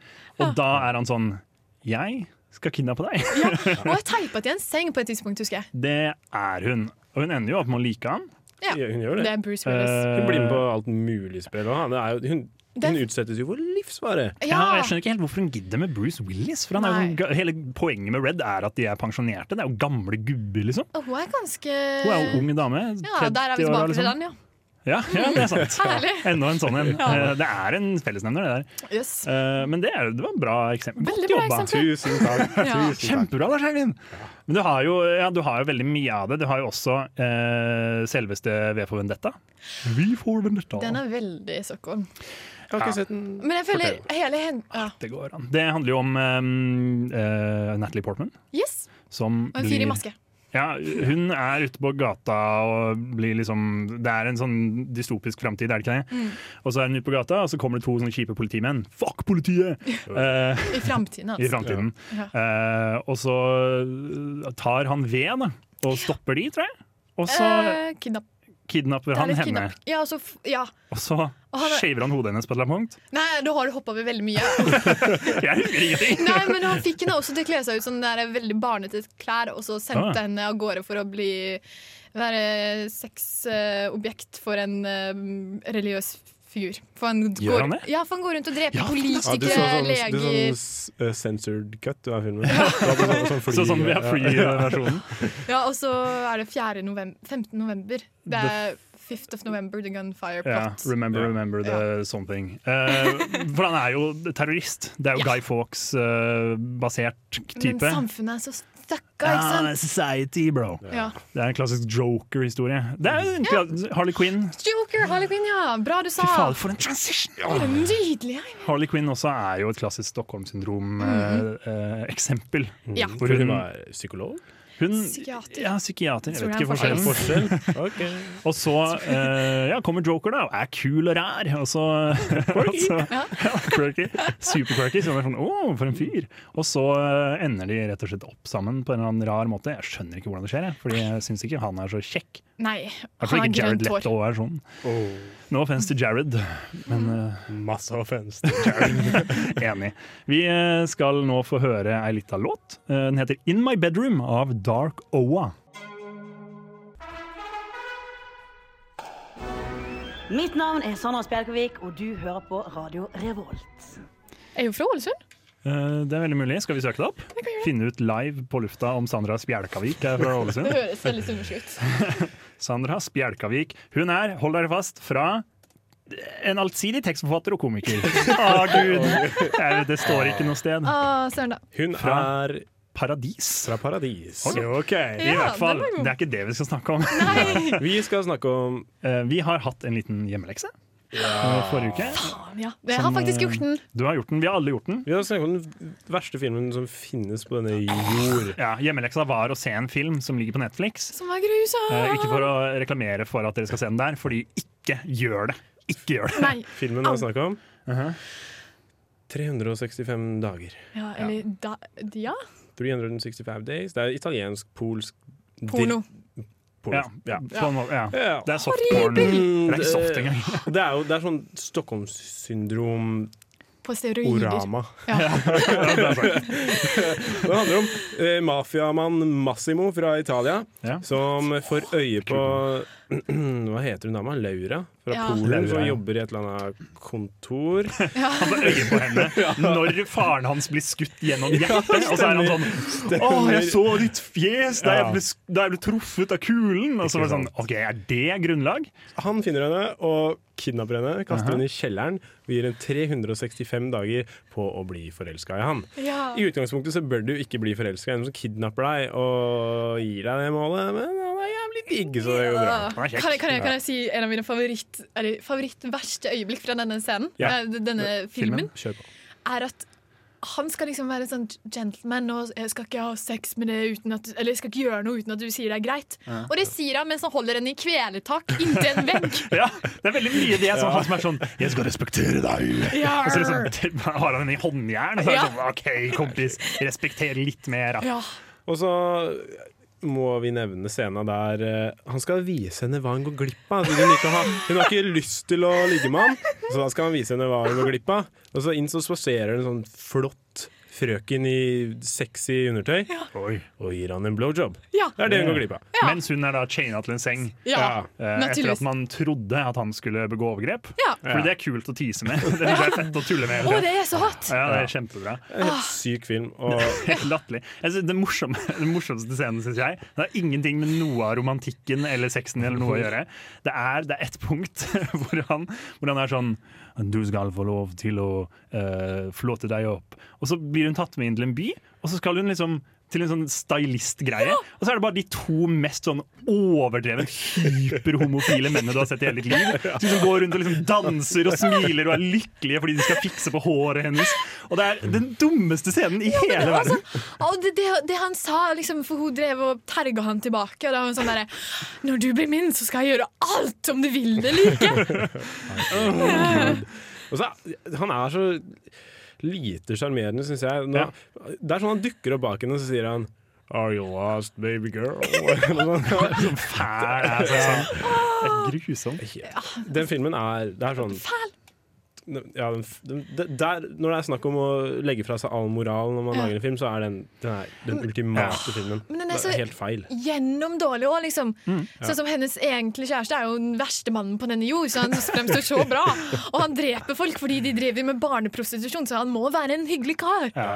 S4: Og da er han sånn 'Jeg skal kidnappe deg'.
S8: Og jeg teipa til en seng på et tidspunkt, husker jeg.
S4: Det er hun. Og hun ender jo opp med å like han.
S8: Ja.
S9: Hun gjør det.
S8: Det er Bruce Willis.
S4: Eh,
S9: Hun blir med på alt mulig spill. og han er jo- Hun, hun utsettes jo for livsfare.
S4: Ja. og jeg skjønner ikke helt hvorfor hun gidder med Bruce Willis. For han er jo, sånn
S8: Nei.
S4: ga- hele poenget med Red er at de er pensjonerte. Det er jo gamle gubber, liksom.
S8: Og hun er ganske
S4: Hun er jo ung dame.
S8: Eh, Ja, der er vi
S4: 30 år,
S8: tilbake til
S4: liksom.
S8: den, ja.
S4: Ja, ja, det er sant.
S8: Herlig.
S4: Enda en sånn en.
S8: Ja.
S4: Eh, Det er en fellesnevner, det der.
S8: Yes.
S4: Eh, Men det, er, det var et bra eksempel.
S14: Veldig bra eksempel. Tusen takk. Ja. Tusen takk.
S4: Kjempebra, Lars Eivind! Men du har, jo, ja, du har jo veldig mye av det. Du har jo også eh, selveste V for Vendetta. Vi får Vendetta.
S8: Den er veldig Stockholm.
S4: har ikke Ja. sett
S9: den.
S8: Men jeg føler hele hen... Ja.
S4: Det går an. Det handler jo om ehm, eh, Natalie Portman.
S8: Yes.
S4: Som
S8: Og en
S4: blir-
S8: fyr i maske.
S4: Ja, hun er ute på gata og blir liksom Det er en sånn dystopisk framtid, er det ikke det?
S8: Mm.
S4: Og så er hun ute på gata, og så kommer det to sånne kjipe politimenn. Fuck politiet! Eh,
S8: I framtiden, altså.
S4: I framtiden.
S8: Ja.
S4: Eh, og så tar han ved, da. Og stopper de, tror jeg. Og
S9: altså,
S4: så
S8: Eh, kidnapp.
S4: kidnapper
S8: Det er
S4: han
S8: litt
S4: henne,
S8: kidnapp. Ja, så, f- ja.
S4: og så
S8: Og han er-
S4: shaver han hodet hennes på et eller annet punkt.
S8: Nei, da har du hoppa over veldig mye.
S4: Jeg husker ingenting!
S8: Nei, men han fikk henne også til å kle seg ut som det er veldig barnete klær, og så sendte
S4: Ah.
S8: henne av gårde for å bli være sexobjekt for en eh, religiøs figur. For han
S9: Gjør
S8: går,
S9: han det?
S8: Ja, for han går rundt og dreper
S9: Ja, du
S8: politikere,
S9: så sånn, du så
S8: leger
S9: sånn s- eh, censored cut av filmen. Du hadde sånn, sånn,
S4: Så sånn vi har free-versjonen.
S8: Ja, og så er det 4. November, 15. november. Det er 5th of November, The Gunfire
S4: Ja,
S8: Plot.
S4: remember, remember the something. Eh, for han er jo terrorist. Det er jo
S8: Ja.
S4: Guy Fawkes-basert type.
S8: Men samfunnet er så stakka, ikke
S4: Ah,
S8: sant?
S4: society, bro.
S8: Ja.
S4: Det er en klassisk Joker-historie. Det er jo en kla- Harley Quinn.
S8: Joker, Harley Quinn, ja! Bra du sa!
S4: Fy fader, for en transition! Ja.
S8: Det er Nydelig! ja.
S4: Harley Quinn også er jo et klassisk eh,
S8: Mhm.
S4: Stockholm-syndrom-eksempel.
S8: Ja.
S9: Hvor hun var psykolog?
S4: Hun, Mm,
S8: Psykiater.
S4: Ja, psykiater. Jeg
S9: Tror
S4: vet
S9: det
S4: ikke
S9: er en
S4: forskjellen.
S9: forskjell.
S4: og så eh, ja, kommer Joker, da, og er kul og rær. Og så, og så ja. quirky. Super-quirky. Så man er sånn, Å, for en fyr! Og så eh, ender de rett og slett opp sammen på en eller annen rar måte. Jeg skjønner ikke hvordan det skjer, jeg, fordi jeg syns ikke han er så kjekk.
S8: Nei,
S4: I hvert fall
S8: han
S4: ikke
S8: har
S4: Jared
S8: grønt hår.
S4: Leto er sånn. No offense til Jared, men
S9: Masse offense til
S4: Jared. Enig. Vi eh, skal nå få høre ei lita låt. Eh, Den heter 'In My Bedroom' av Dark Oa.
S17: Mitt navn er Sandra Spjelkavik, og du hører på Radio Revolt.
S8: Er hun fra Ålesund?
S4: Eh, Det er veldig mulig. Skal vi søke det opp? Finne ut live på lufta om Sandra Spjelkavik er fra
S8: Det
S4: Ålesund.
S8: høres veldig summelig ut.
S4: Sandra Spjelkavik. Hun er, hold dere fast, fra en allsidig tekstforfatter og komiker. Å, gud! Jeg, det står ikke noe sted.
S8: Ah, Søren, da.
S9: Hun
S4: Fra
S9: er
S4: Paradis.
S9: Fra Paradis.
S4: Ok. I
S8: Ja,
S4: hvert fall.
S8: den var god.
S4: Det er ikke det vi skal snakke om. Eh,
S9: Vi skal snakke om
S4: Vi har hatt en liten hjemmelekse eh, forrige uke.
S8: Ja, jeg har
S4: Som,
S8: faktisk gjort
S4: eh,
S8: den.
S4: Du har gjort den. Vi har alle gjort den.
S9: Vi har snakket om den verste filmen som finnes på denne jord.
S4: Ja, Hjemmeleksa var å se en film som ligger på Netflix.
S8: Som er grusom!
S4: Eh, ikke for å reklamere for at dere skal se den der, fordi ikke gjør det. Ikke gjør det.
S8: Nei.
S9: Filmen det er snakk om. 365 dager.
S8: Ja, eller da, ja.
S9: 365 days. Det er italiensk, polsk dri-
S8: Porno.
S9: Porno.
S4: Ja, på en måte, ja.
S9: Ja.
S4: Det er softporn. Det er ikke soft engang.
S9: Det er jo det er sånn Stockholmssyndrom-orama.
S8: På steroider. Ja.
S9: det er sant. Det handler om eh, mafiamann Massimo fra Italia, som får øye på Hva heter hun dama? Laura fra
S4: Ja.
S9: Polen,
S4: Laura,
S9: som
S4: ja.
S9: jobber i et eller annet kontor.
S4: Han får øye på henne når faren hans blir skutt gjennom hjertet, og så er han sånn Å, jeg så ditt fjes da jeg ble, sk- da jeg ble truffet av kulen! Og så var det sånn OK, er det grunnlag?
S9: Han finner henne og kidnapper henne, kaster henne i kjelleren og gir henne 365 dager på å bli forelska i han.
S8: Ja.
S9: I utgangspunktet så bør du ikke bli forelska i en som kidnapper deg og gir deg det målet, men han er jævlig digg, så det går bra.
S8: Kan jeg, kan, jeg, kan jeg si en av mine favoritt, eller favoritt-verste øyeblikk fra denne scenen?
S9: Ja.
S8: Eh, Denne filmen?
S9: Kjør på.
S8: er at han skal liksom være en sånn gentleman og jeg skal ikke ha sex med det uten at, eller jeg skal ikke gjøre noe uten at du sier det er greit.
S4: Ja.
S8: Og det sier han mens han holder henne i kvelertak inntil en vegg.
S4: Ja, det er veldig mye det som han som er sånn 'Jeg skal respektere deg'.
S8: Ja.
S4: Og så
S9: sånn-
S4: liksom, har han henne i håndjern. Og så er
S8: Ja.
S4: det sånn, OK, kompis, respekter litt mer. da.
S9: Og så må vi nevne scenen der eh, han skal vise henne hva hun går glipp av. Hun, ikke har, hun har ikke lyst til å ligge med han, så da skal han vise henne hva hun går glipp av. Og så inn så spaserer det en sånn flott frøken i sexy undertøy
S4: Oi.
S9: og gir han en blowjob.
S8: Ja.
S9: Det er det hun går glipp av.
S8: Ja.
S4: Mens hun er da chaina til en seng.
S8: Ja,
S4: Eh, Etter
S8: naturligvis.
S4: at man trodde at han skulle begå overgrep.
S8: Ja.
S4: Fordi det er kult å tise med. Det synes jeg er fett å tulle med. hele
S8: Å,
S4: tiden.
S8: det er så hot!
S4: Ja, det er kjempebra.
S9: En helt syk film. Og
S4: Helt latterlig. Jeg synes det, morsomme, det morsomste scenen, syns jeg. Det har ingenting med noe av romantikken eller sexen eller noe å gjøre. Det er, det er ett punkt hvor han, hvor han er sånn Du skal få lov til å eh, flåte deg opp. Og så blir hun tatt med inn til en by, og så skal hun liksom til en sånn stylistgreie. Og så er det bare de to mest sånn overdrevet hyperhomofile mennene du har sett i hele ditt liv. Som liksom går rundt og liksom danser og smiler og er lykkelige fordi de skal fikse på håret hennes. Og det er den dummeste scenen i hele
S8: Men
S4: verden.
S8: altså, og det, det, det han sa, liksom, for hun drev og terga han tilbake. Og da var hun sånn derre Når du blir min, så skal jeg gjøre alt om du vil det eller ikke!
S9: Og så, er- han er så lite sjarmerende, syns jeg. Nå, Det er sånn han dukker opp bak henne og så sier han Are you lost, baby girl? Sånn fæl
S4: altså. Grusomt.
S9: Den filmen er Det er sånn
S8: Fæl!
S9: ja, den, f- den, det- der, når det er snakk om å legge fra seg all moral når man
S8: Ja.
S9: lager en film, så er den den, er den ultimate filmen.
S8: Men den er så
S9: det er helt feil.
S8: gjennomdårlig òg, liksom.
S4: Mm,
S9: Ja.
S8: Sånn som hennes egentlige kjæreste er jo den verste mannen på denne jord, så han fremstår så bra. Og han dreper folk fordi de driver med barneprostitusjon, så han må være en hyggelig kar.
S4: Ja.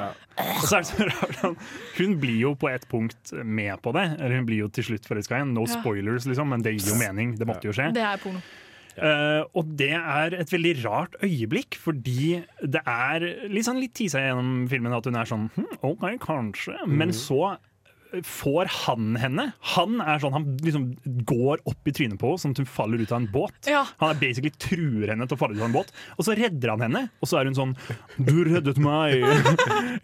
S4: Og så er det så rart han- Hun blir jo på et punkt med på det. Eller hun blir jo til slutt forelska igjen. No
S8: Ja.
S4: spoilers, liksom, men det gir jo mening. Det måtte jo skje.
S8: Det er porno.
S4: Eh, og det er et veldig rart øyeblikk, fordi det er litt sånn litt tisa gjennom filmen at hun er sånn hm, OK, kanskje. Men så får han henne. Han er sånn, han liksom går opp i trynet på henne sånn at hun faller ut av en båt. Han er basically truer henne til å falle ut av en båt, og så redder han henne. Og så er hun sånn Du reddet meg!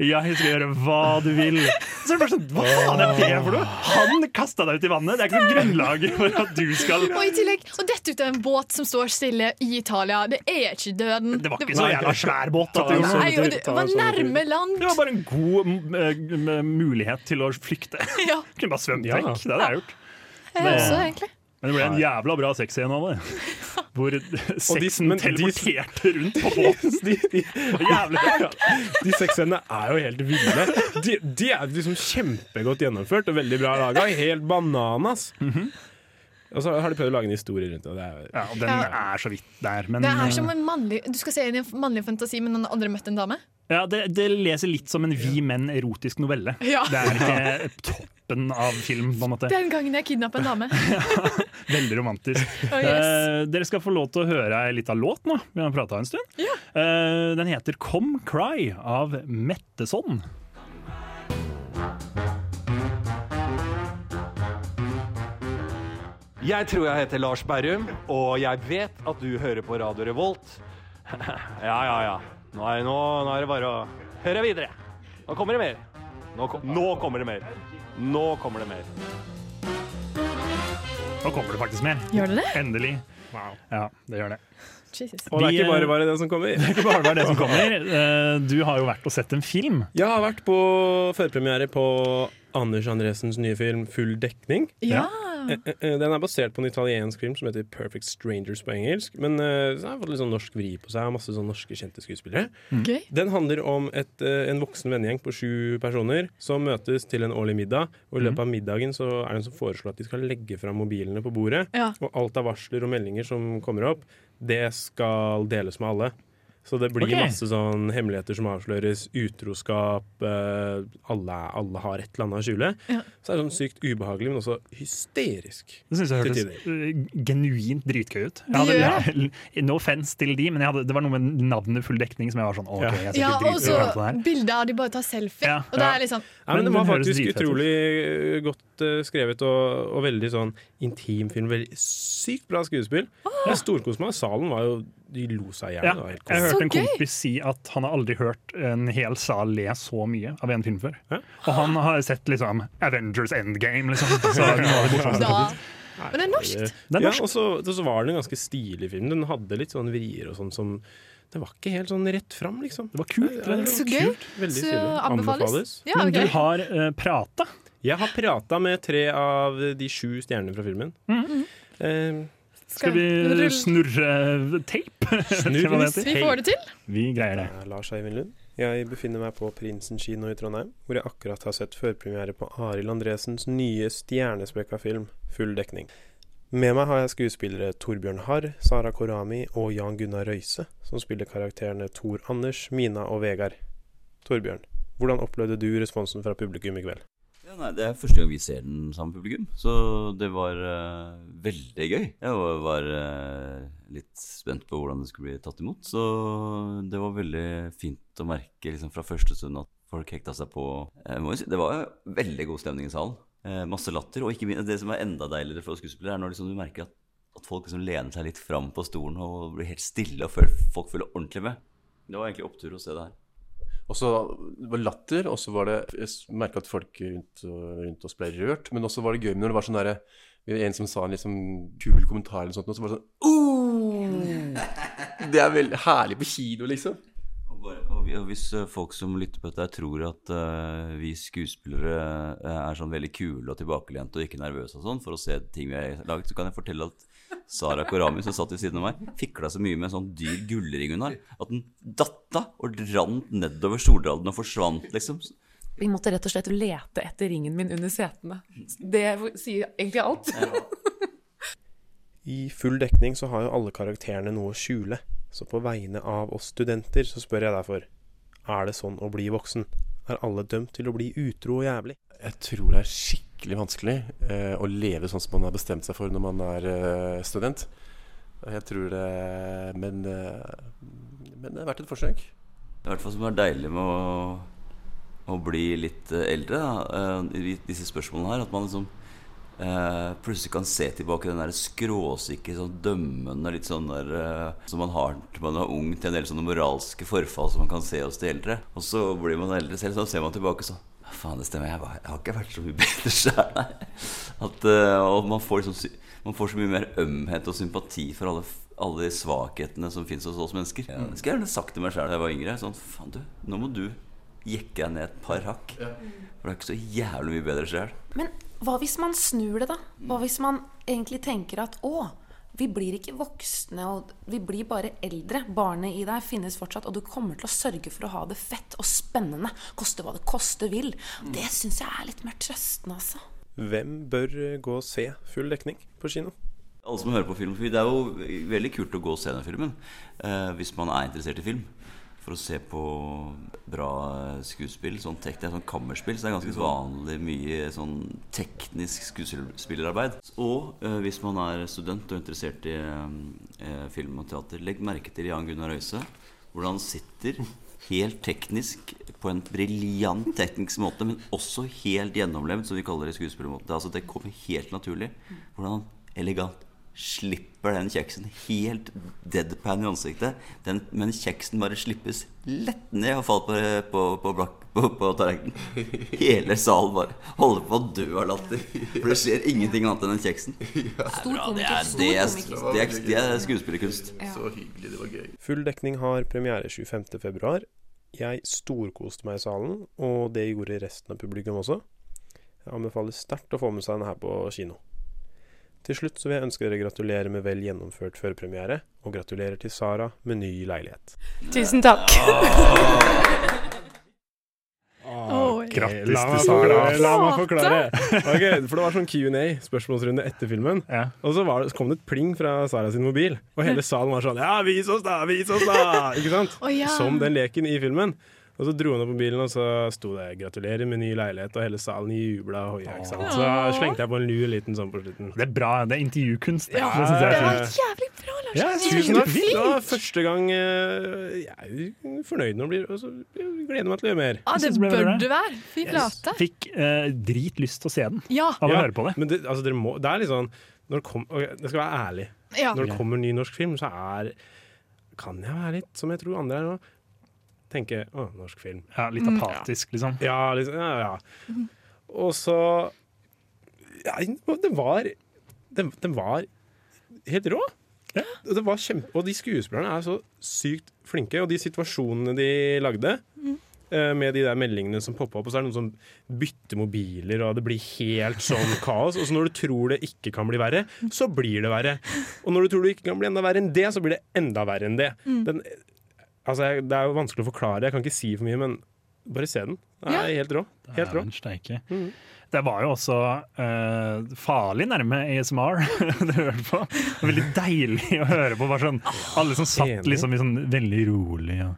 S4: Jeg skal gjøre hva du vil! Så er det bare sånn, Hva faen er det for noe?! Han kasta deg ut i vannet! Det er ikke noe grunnlag for at du skal
S8: Og i tillegg, å dette ut av en båt som står stille i Italia, det er ikke døden.
S4: Det var ikke så jævla svær båt. altså. at det gjorde noe.
S8: Nei, og det var nærme land.
S4: Det var bare en god m- eh, m- m- mulighet til å flykte.
S8: Ja.
S4: Kunne bare svømt
S9: Ja.
S4: vekk. Det hadde jeg gjort.
S8: Jeg
S4: Men-
S8: også, egentlig.
S4: Men det ble en jævla bra sexscene av det. Hvor sexen
S9: men de-
S4: teleporterte rundt på båten. Det var jævlig bra.
S9: De sexscenene er jo helt ville. De, de er liksom kjempegodt gjennomført og veldig bra laga. Helt bananas! Og så har de prøvd å lage en historie rundt det. og det er,
S4: Mhm. ja, og den
S8: Ja.
S4: er så vidt der, men eh,
S8: det er som en mannlig Du skal se inn i en mannlig fantasi, men han har aldri møtt en dame?
S4: ja, det, det leser litt som en vi menn erotisk novelle.
S8: Ja.
S4: Det er ikke toppen av film, på en måte.
S8: Den gangen jeg kidnappa en dame.
S4: Veldig romantisk.
S8: Oh, yes.
S4: Eh, dere skal få lov til å høre ei lita låt nå. Vi har prata en stund. Eh, den heter 'Come Cry' av Metteson.
S10: Jeg tror jeg heter Lars Berrum, og jeg vet at du hører på Radio Revolt. ja, ja, ja. Nå er, nå, nå er det bare å høre videre. Nå kommer det mer. Nå, kom, nå kommer det mer. Nå kommer det mer.
S4: Nå kommer det faktisk mer.
S8: Gjør det det?
S4: Endelig. Ja, det gjør det.
S8: Jesus.
S9: Og det er
S4: Vi,
S9: ikke bare
S4: eh,
S9: bare det som kommer.
S4: Det er ikke bare bare det som kommer. Eh, du har jo vært og sett en film.
S9: Jeg har vært på førpremiere på Anders Andresens nye film 'Full dekning'.
S4: Ja.
S9: Eh, eh, eh, Den er basert på en italiensk film som heter 'Perfect Strangers' på engelsk. Men eh, så har den fått litt sånn norsk vri på seg. Har masse sånn norske kjente skuespillere.
S4: Eh,
S8: Gøy.
S9: Den handler om et, eh, en voksen vennegjeng på sju personer som møtes til en årlig middag. Og I løpet
S4: Mhm.
S9: av middagen så er det en som foreslår at de skal legge fram mobilene på bordet.
S8: Ja.
S9: Og alt av varsler og meldinger som kommer opp, det skal deles med alle. Så det blir
S4: Ok.
S9: masse sånn hemmeligheter som avsløres, utroskap eh, alle, alle har et eller annet å skjule. Så det er sånn sykt ubehagelig, men også hysterisk.
S4: Det syns jeg
S9: til
S4: hørtes
S9: tider.
S4: eh, genuint dritgøy ut. Jeg
S9: Det gjør
S4: hadde, no offense til de, men jeg hadde, det var noe med navnet full dekning som jeg var sånn OK, jeg skal
S8: Ja,
S4: ikke
S8: og
S4: drite i
S8: så
S4: alt det her.
S8: bildet av de bare tar selfie.
S4: Ja.
S8: Og det
S4: Ja.
S8: er litt sånn
S9: Nei,
S4: Men
S9: men den var
S4: den høres
S9: faktisk
S4: dritfett ut.
S9: utrolig eh, godt eh, skrevet og, og veldig sånn intim film. Veldig sykt bra skuespill.
S8: Ah!
S9: Jeg storkoste meg. Salen var jo De lo seg i hjel.
S4: Ja,
S9: Det var helt
S4: jeg
S9: kos-
S4: hørte en kompis si at han har aldri hørt en hel sal le så mye av en film før. Og han har sett liksom Avengers Endgame, liksom. Så det var det morsomste.
S8: Da. Men det er norskt.
S4: Det er
S9: Ja,
S4: norsk.
S9: og så, og så var den en ganske stilig film. Den hadde litt sånn vrier og sånn som Det var ikke helt sånn rett fram, liksom.
S4: Det var kult.
S9: Ja, det var
S8: Så gøy.
S9: kult. Veldig
S8: Så
S9: stilig.
S8: anbefales. Ja,
S4: Men
S8: ok.
S4: du har uh, prata.
S9: Jeg har prata med tre av de sju stjernene fra filmen.
S8: Mm.
S9: Eh,
S4: Skal vi snurre eh, tape? Hva det heter?
S8: Vi får det til.
S4: Vi greier det.
S9: Jeg er Eh, Lars Eivind Lund. Jeg befinner meg på Prinsen kino i Trondheim, hvor jeg akkurat har sett førpremiere på Arild Andresens nye stjernespekka film, Full dekning. Med meg har jeg skuespillere Torbjørn Harr, Sara Korami og Jan Gunnar Røise, som spiller karakterene Tor Anders, Mina og Vegard. Torbjørn, hvordan opplevde du responsen fra publikum i kveld?
S18: Ja, nei, det er første gang vi ser den sammen med publikum, så det var eh, veldig gøy. Jeg var, var eh, litt spent på hvordan det skulle bli tatt imot, så det var veldig fint å merke liksom, fra første stund at folk hekta seg på. Jeg må jo si, det var veldig god stemning i salen. Eh, masse latter, og ikke minst, det som er enda deiligere for oss skuespillere, er når liksom, du merker at, at folk liksom lener seg litt fram på stolen og blir helt stille, og føler, folk føler ordentlig med. Det var egentlig opptur å se det her.
S19: Og så det var latter, og så var det Jeg merka at folk rundt, rundt oss ble rørt. Men også var det gøy når det var sånn derre En som sa en liksom kul kommentar eller noe sånt, og så var det sånn «Oh!» Det er veldig herlig på kino, liksom.
S18: Og, bare, og vi- og hvis eh, folk som lytter på dette, her tror at eh, vi skuespillere eh, er sånn veldig kule og tilbakelente og ikke nervøse og sånn for å se ting vi har laget, så kan jeg fortelle at Sara Korami, som satt ved siden av meg, fikla så mye med en sånn dyr gullring hun har, at den datta og rant nedover Stordalen og forsvant, liksom.
S20: Vi måtte rett og slett lete etter ringen min under setene. Det sier egentlig alt.
S9: I full dekning så har jo alle karakterene noe å skjule, så på vegne av oss studenter så spør jeg derfor Er det sånn å bli voksen? Er alle dømt til å bli utro og jævlig?
S19: Jeg tror det er skikkelig vanskelig eh, å leve sånn som man har bestemt seg for når man er eh, student. Og Jeg tror det Men, eh, men det er verdt et forsøk.
S18: Det er i hvert fall som er deilig med å, å bli litt eh, eldre da, eh, i disse spørsmålene her, at man liksom eh, plutselig kan se tilbake den der skråsikre, sånn dømmende litt sånn der eh, som man har når man er ung, til en del sånne moralske forfall som man kan se hos de eldre. Og så blir man eldre selv, så ser man tilbake sånn «Ja, Faen, det stemmer, jeg, var, jeg har ikke vært så mye bedre sjæl, nei. At, eh, og man får, liksom, sy- man får så mye mer ømhet og sympati for alle, f- alle de svakhetene som fins hos oss mennesker. Ja, det skulle jeg gjerne sagt til meg sjæl da jeg var yngre. Sånn, faen du, nå må du jekke deg ned et par hakk. For du er ikke så jævlig mye bedre sjæl.
S20: Men hva hvis man snur det, da? Hva hvis man egentlig tenker at å, vi blir ikke voksne, og vi blir bare eldre. Barnet i deg finnes fortsatt, og du kommer til å sørge for å ha det fett og spennende. Koste hva det koste vil. Det syns jeg er litt mer trøstende, altså.
S9: Hvem bør eh, gå og se full dekning på kino?
S18: Alle som hører på Filmofil, det er jo veldig kult å gå og se den filmen eh, hvis man er interessert i film. For å se på bra eh, skuespill. Sånn tek, det er sånn kammerspill, så det er ganske vanlig mye sånn teknisk skuespillerarbeid. Og eh, hvis man er student og interessert i eh, eh, film og teater, legg merke til Jan Gunnar Øise. Hvordan han sitter helt teknisk på en briljant teknisk måte, men også helt gjennomlevd, som vi kaller det i skuespillermåte. Altså, det kommer helt naturlig. Hvordan han elegant slipper den kjeksen helt deadpan i ansiktet. Den, men kjeksen bare slippes lett ned og faller på, på, på, blak- på, på tallerkenen. Hele salen bare holder på å dø av latter. For det skjer ingenting annet enn den kjeksen. Det er bra. Det er, det er, det er, det er, det er skuespillerkunst.
S19: Så hyggelig, det var gøy.
S9: Full dekning har premiere 25. februar. Jeg storkoste meg i salen, og det gjorde resten av publikum også. Jeg anbefaler sterkt å få med seg den her på kino. Til slutt så vil jeg ønske dere gratulerer med vel gjennomført førpremiere, og gratulerer til Sara med ny leilighet.
S20: Tusen takk.
S9: Ok,
S20: Grattis
S9: la
S20: til
S9: meg
S20: Sara.
S9: forklare- La meg forklare.
S20: Flate!
S9: Ok, for det var sånn Q&A, spørsmålsrunde etter filmen. Og så, var det, så kom det et pling fra Sara sin mobil, og hele salen var sånn Ja, vis oss, da! Vis oss, da! Ikke sant?
S14: Å, ja.
S9: Som den leken i filmen. Og så dro hun opp mobilen, og så sto det 'gratulerer med ny leilighet', og hele salen jubla og hoia. ikke sant? Så
S4: Åh.
S9: slengte jeg på en lur liten sånn på slutten.
S4: Det er bra. Det er intervjukunst.
S9: Ja,
S4: det synes jeg er
S9: det var
S4: fint.
S8: Jævlig bra, Lars!
S9: Ja,
S8: Det er
S9: tusen takk.
S8: fint.
S9: Det var første gang eh, Jeg er jo fornøyd nå, blir, og så jeg gleder meg til å gjøre mer.
S8: Ja, Ah, det
S4: ble
S8: bør
S4: bra.
S8: du være. Fy flate.
S4: Fikk eh, drit lyst til å se den
S8: Ja.
S4: av å høre på det.
S9: Men det, altså, dere må, det er litt sånn når det kom, ok, Det skal være ærlig.
S8: Ja.
S9: Når det
S8: Ok.
S9: kommer ny norsk film, så er Kan jeg være litt som jeg tror andre er nå? Tenke å, norsk film.
S4: Ja, litt Mm. apatisk, liksom.
S9: Ja, liksom, ja, ja. Og så ja, Det var Den, den var helt rå. Og Det var kjempe, og de skuespillerne er så sykt flinke, og de situasjonene de lagde eh, med de der meldingene som poppa opp, og så er det noen som bytter mobiler, og det blir helt sånn kaos. Og så når du tror det ikke kan bli verre, så blir det verre. Og når du tror det ikke kan bli enda verre enn det, så blir det enda verre enn det.
S14: Mm.
S9: Den, altså, jeg, det er jo vanskelig å forklare, jeg kan ikke si for mye, men bare se den. Den er helt rå. Helt Mm. rå.
S4: Dæven steike. Det var jo også eh, farlig nærme ASMR du hørte på. Det var Veldig deilig å høre på. Bare sånn, alle som
S9: Ah, Enig.
S4: satt liksom i sånn veldig rolig. Ja.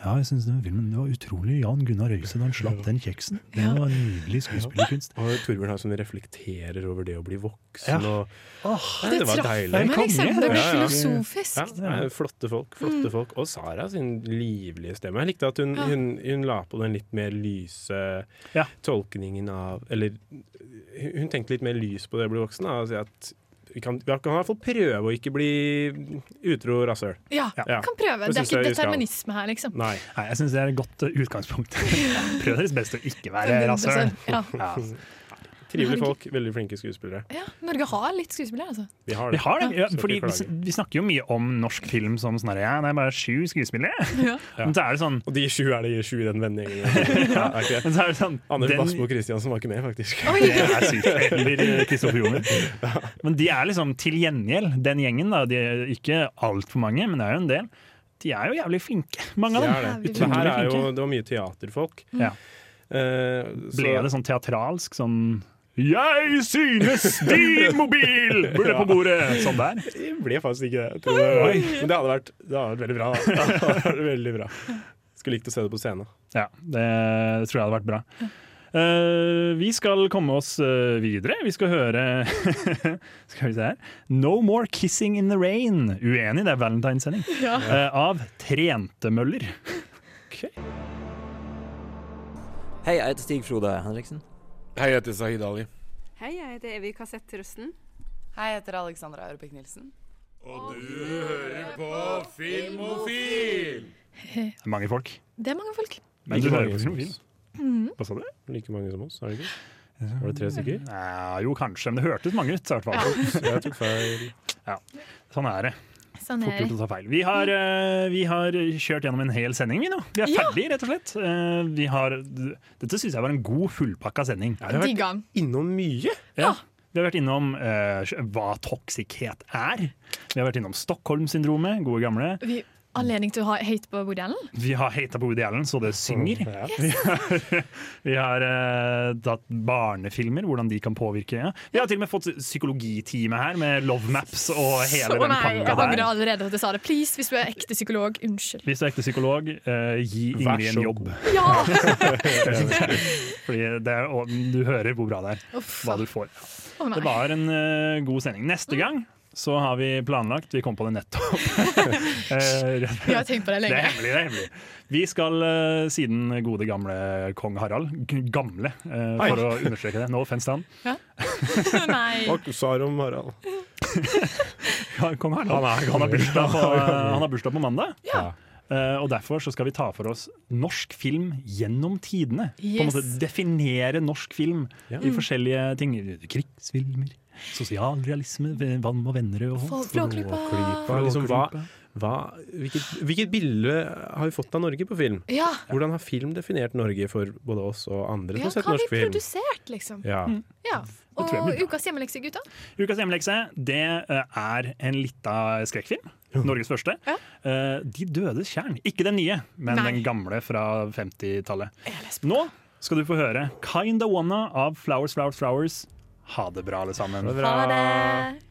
S4: Ja, jeg synes den filmen det var utrolig Jan Gunnar Øyse da han slapp den kjeksen. Det var nydelig skuespillerkunst.
S9: Og Torbjørn Haugen reflekterer over det å bli
S4: Ja.
S9: voksen. Og,
S4: Åh,
S9: Nei,
S4: det traff meg,
S9: Konge.
S4: liksom. Det ble
S9: Ja, ja.
S4: filosofisk.
S9: Ja, det er flotte folk. flotte
S4: Mm.
S9: folk Og Sara sin livlige stemme. Jeg likte at hun,
S4: Ja.
S9: hun, hun la på den litt mer lyse tolkningen av Eller hun tenkte litt mer lys på det å bli voksen. Da, og si at vi kan, vi kan i hvert fall prøve å ikke bli utro rasshøl.
S8: Ja, vi kan prøve. Det er ikke determinisme her, liksom.
S9: Nei.
S4: jeg syns det er et godt eh, utgangspunkt. Prøv deres beste å ikke være
S8: Femhundre
S4: rasshøl.
S8: prosent, ja.
S4: Ja.
S9: Trivelige folk, veldig flinke skuespillere.
S8: Ja, Norge har litt skuespillere, altså.
S9: Vi har
S4: Vi
S9: det.
S4: har det, ja,
S9: Så ikke
S4: fordi vi,
S9: klager.
S4: vi snakker jo mye om norsk film som sånn her, ja, det er bare sju skuespillere. Men så er det sånn
S9: Og de sju er de sju i den vennegjengen. Ja, er ikke det?
S4: Men så er det sånn
S9: Anders
S4: den-
S9: Bassmo Christiansen var ikke med, faktisk.
S4: Det er sykt. Eller eh, Kristoffer Joner. Men de er liksom til gjengjeld, den gjengen, da. De er ikke altfor mange, men det er jo en del. De er jo jævlig flinke, mange av
S9: Det
S4: dem.
S9: er det. Så her
S4: Utrolig
S9: er jo,
S4: flinke.
S9: det var mye teaterfolk.
S4: Ja.
S9: Eh,
S4: Ble det sånn teatralsk sånn Jeg synes din mobil burde på bordet! Sånn der.
S9: Det ble faktisk ikke det. Jeg tror det var- Men det hadde vært, det hadde vært veldig bra. da. Det hadde vært veldig bra. Skulle likt å se det på scenen.
S4: Ja, det tror jeg hadde vært bra. Eh, vi skal komme oss eh, videre. Vi skal høre Skal vi se her No More Kissing in the Rain. Uenig, det er valentinssending.
S14: Ja.
S4: Eh, av Trentemøller.
S21: Hei, jeg heter Stig Frode Henriksen.
S16: Hei, jeg heter Sahid Ali.
S22: Hei, jeg heter Evy Kassett Trøsten.
S5: Hei, jeg heter Alexandra Aurebekk Nilsen.
S16: Og du hører på Filmofil!
S4: Det er mange folk.
S8: Det er mange folk.
S4: Men du
S9: Like
S4: hører på
S9: mange som
S4: Filmofil.
S9: oss.
S8: Mhm.
S4: Hva sa du?
S9: Like mange som oss, er det ikke? Var det tre stykker?
S4: Ja, jo, kanskje, men det hørtes mange ut. i hvert fall.
S9: Jeg tok feil.
S4: Ja, sånn er det.
S8: Sånn
S4: Fort
S8: er
S4: gjort
S8: det.
S4: å ta feil. Vi har, eh, vi har kjørt gjennom en hel sending, vi nå. Vi er
S8: Ja.
S4: ferdig, rett og slett. Eh, vi har, dette syns jeg var en god, fullpakka sending.
S9: vi har vært Digga den. innom mye.
S4: Ja. Vi har vært innom eh, hva toksikhet er. Vi har vært innom Stockholm-syndromet, gode gamle.
S8: Vi, anledning til å ha hate på Woody Allen?
S4: Vi har hata på Woody Allen, så det synger. Vi har, vi har eh, tatt barnefilmer, hvordan de kan påvirke. Ja. Vi har til og med fått psykologitime her, med Love Maps og hele
S8: Så
S4: den
S8: nei, jeg
S4: pakka
S8: angrer
S4: der.
S8: allerede på at jeg sa det. Please, hvis du er ekte psykolog, unnskyld.
S4: Hvis du er ekte psykolog, eh, gi Ingrid en jobb.
S8: Ja!
S4: Fordi det er, og du hører hvor bra det er.
S8: Uff.
S4: Hva du får.
S8: Å, nei.
S4: det var en eh, god sending.
S8: Mm.
S4: Neste gang så har vi planlagt Vi kom på det nettopp. Eh,
S8: Vi har tenkt på det lenge.
S4: Det er hemmelig. det er hemmelig Vi skal eh, siden gode gamle kong Harald g- Gamle, eh,
S9: Oi.
S4: for å understreke det. No offense til han.
S8: Nei.
S9: Hva sa du om Harald?
S4: Ja, Kong Harald. Han, er, han, har bursdag på, han har bursdag på mandag. Eh, og Derfor så skal vi ta for oss norsk film gjennom tidene. På en
S14: Yes.
S4: måte Definere norsk film i
S14: Mm.
S4: forskjellige ting. Krigsfilmer, sosialrealisme, Vann og Vennerød og sånt.
S9: Flåklypa. Flåklypa. Liksom, hva- hva- Hvilket, hvilket bilde har vi fått av Norge på film?
S8: Ja.
S9: Hvordan har film definert Norge for både oss og andre som
S8: Ja,
S9: har sett
S8: hva har vi
S9: norsk film?
S8: produsert, liksom?
S9: Ja.
S8: Mm. ja.
S4: tror jeg blir
S8: Og
S4: bra.
S8: ukas hjemmelekse, gutta?
S4: Ukas hjemmelekse det eh, er en lita skrekkfilm. Norges første. Eh, De dødes tjern. Ikke den nye, men
S14: Nei.
S4: den gamle fra 50-tallet. Nå skal du få høre Kinda Wanna av Flowers, Flowers, Flowers. Ha det bra, alle sammen.
S14: Ha det bra. Ha det.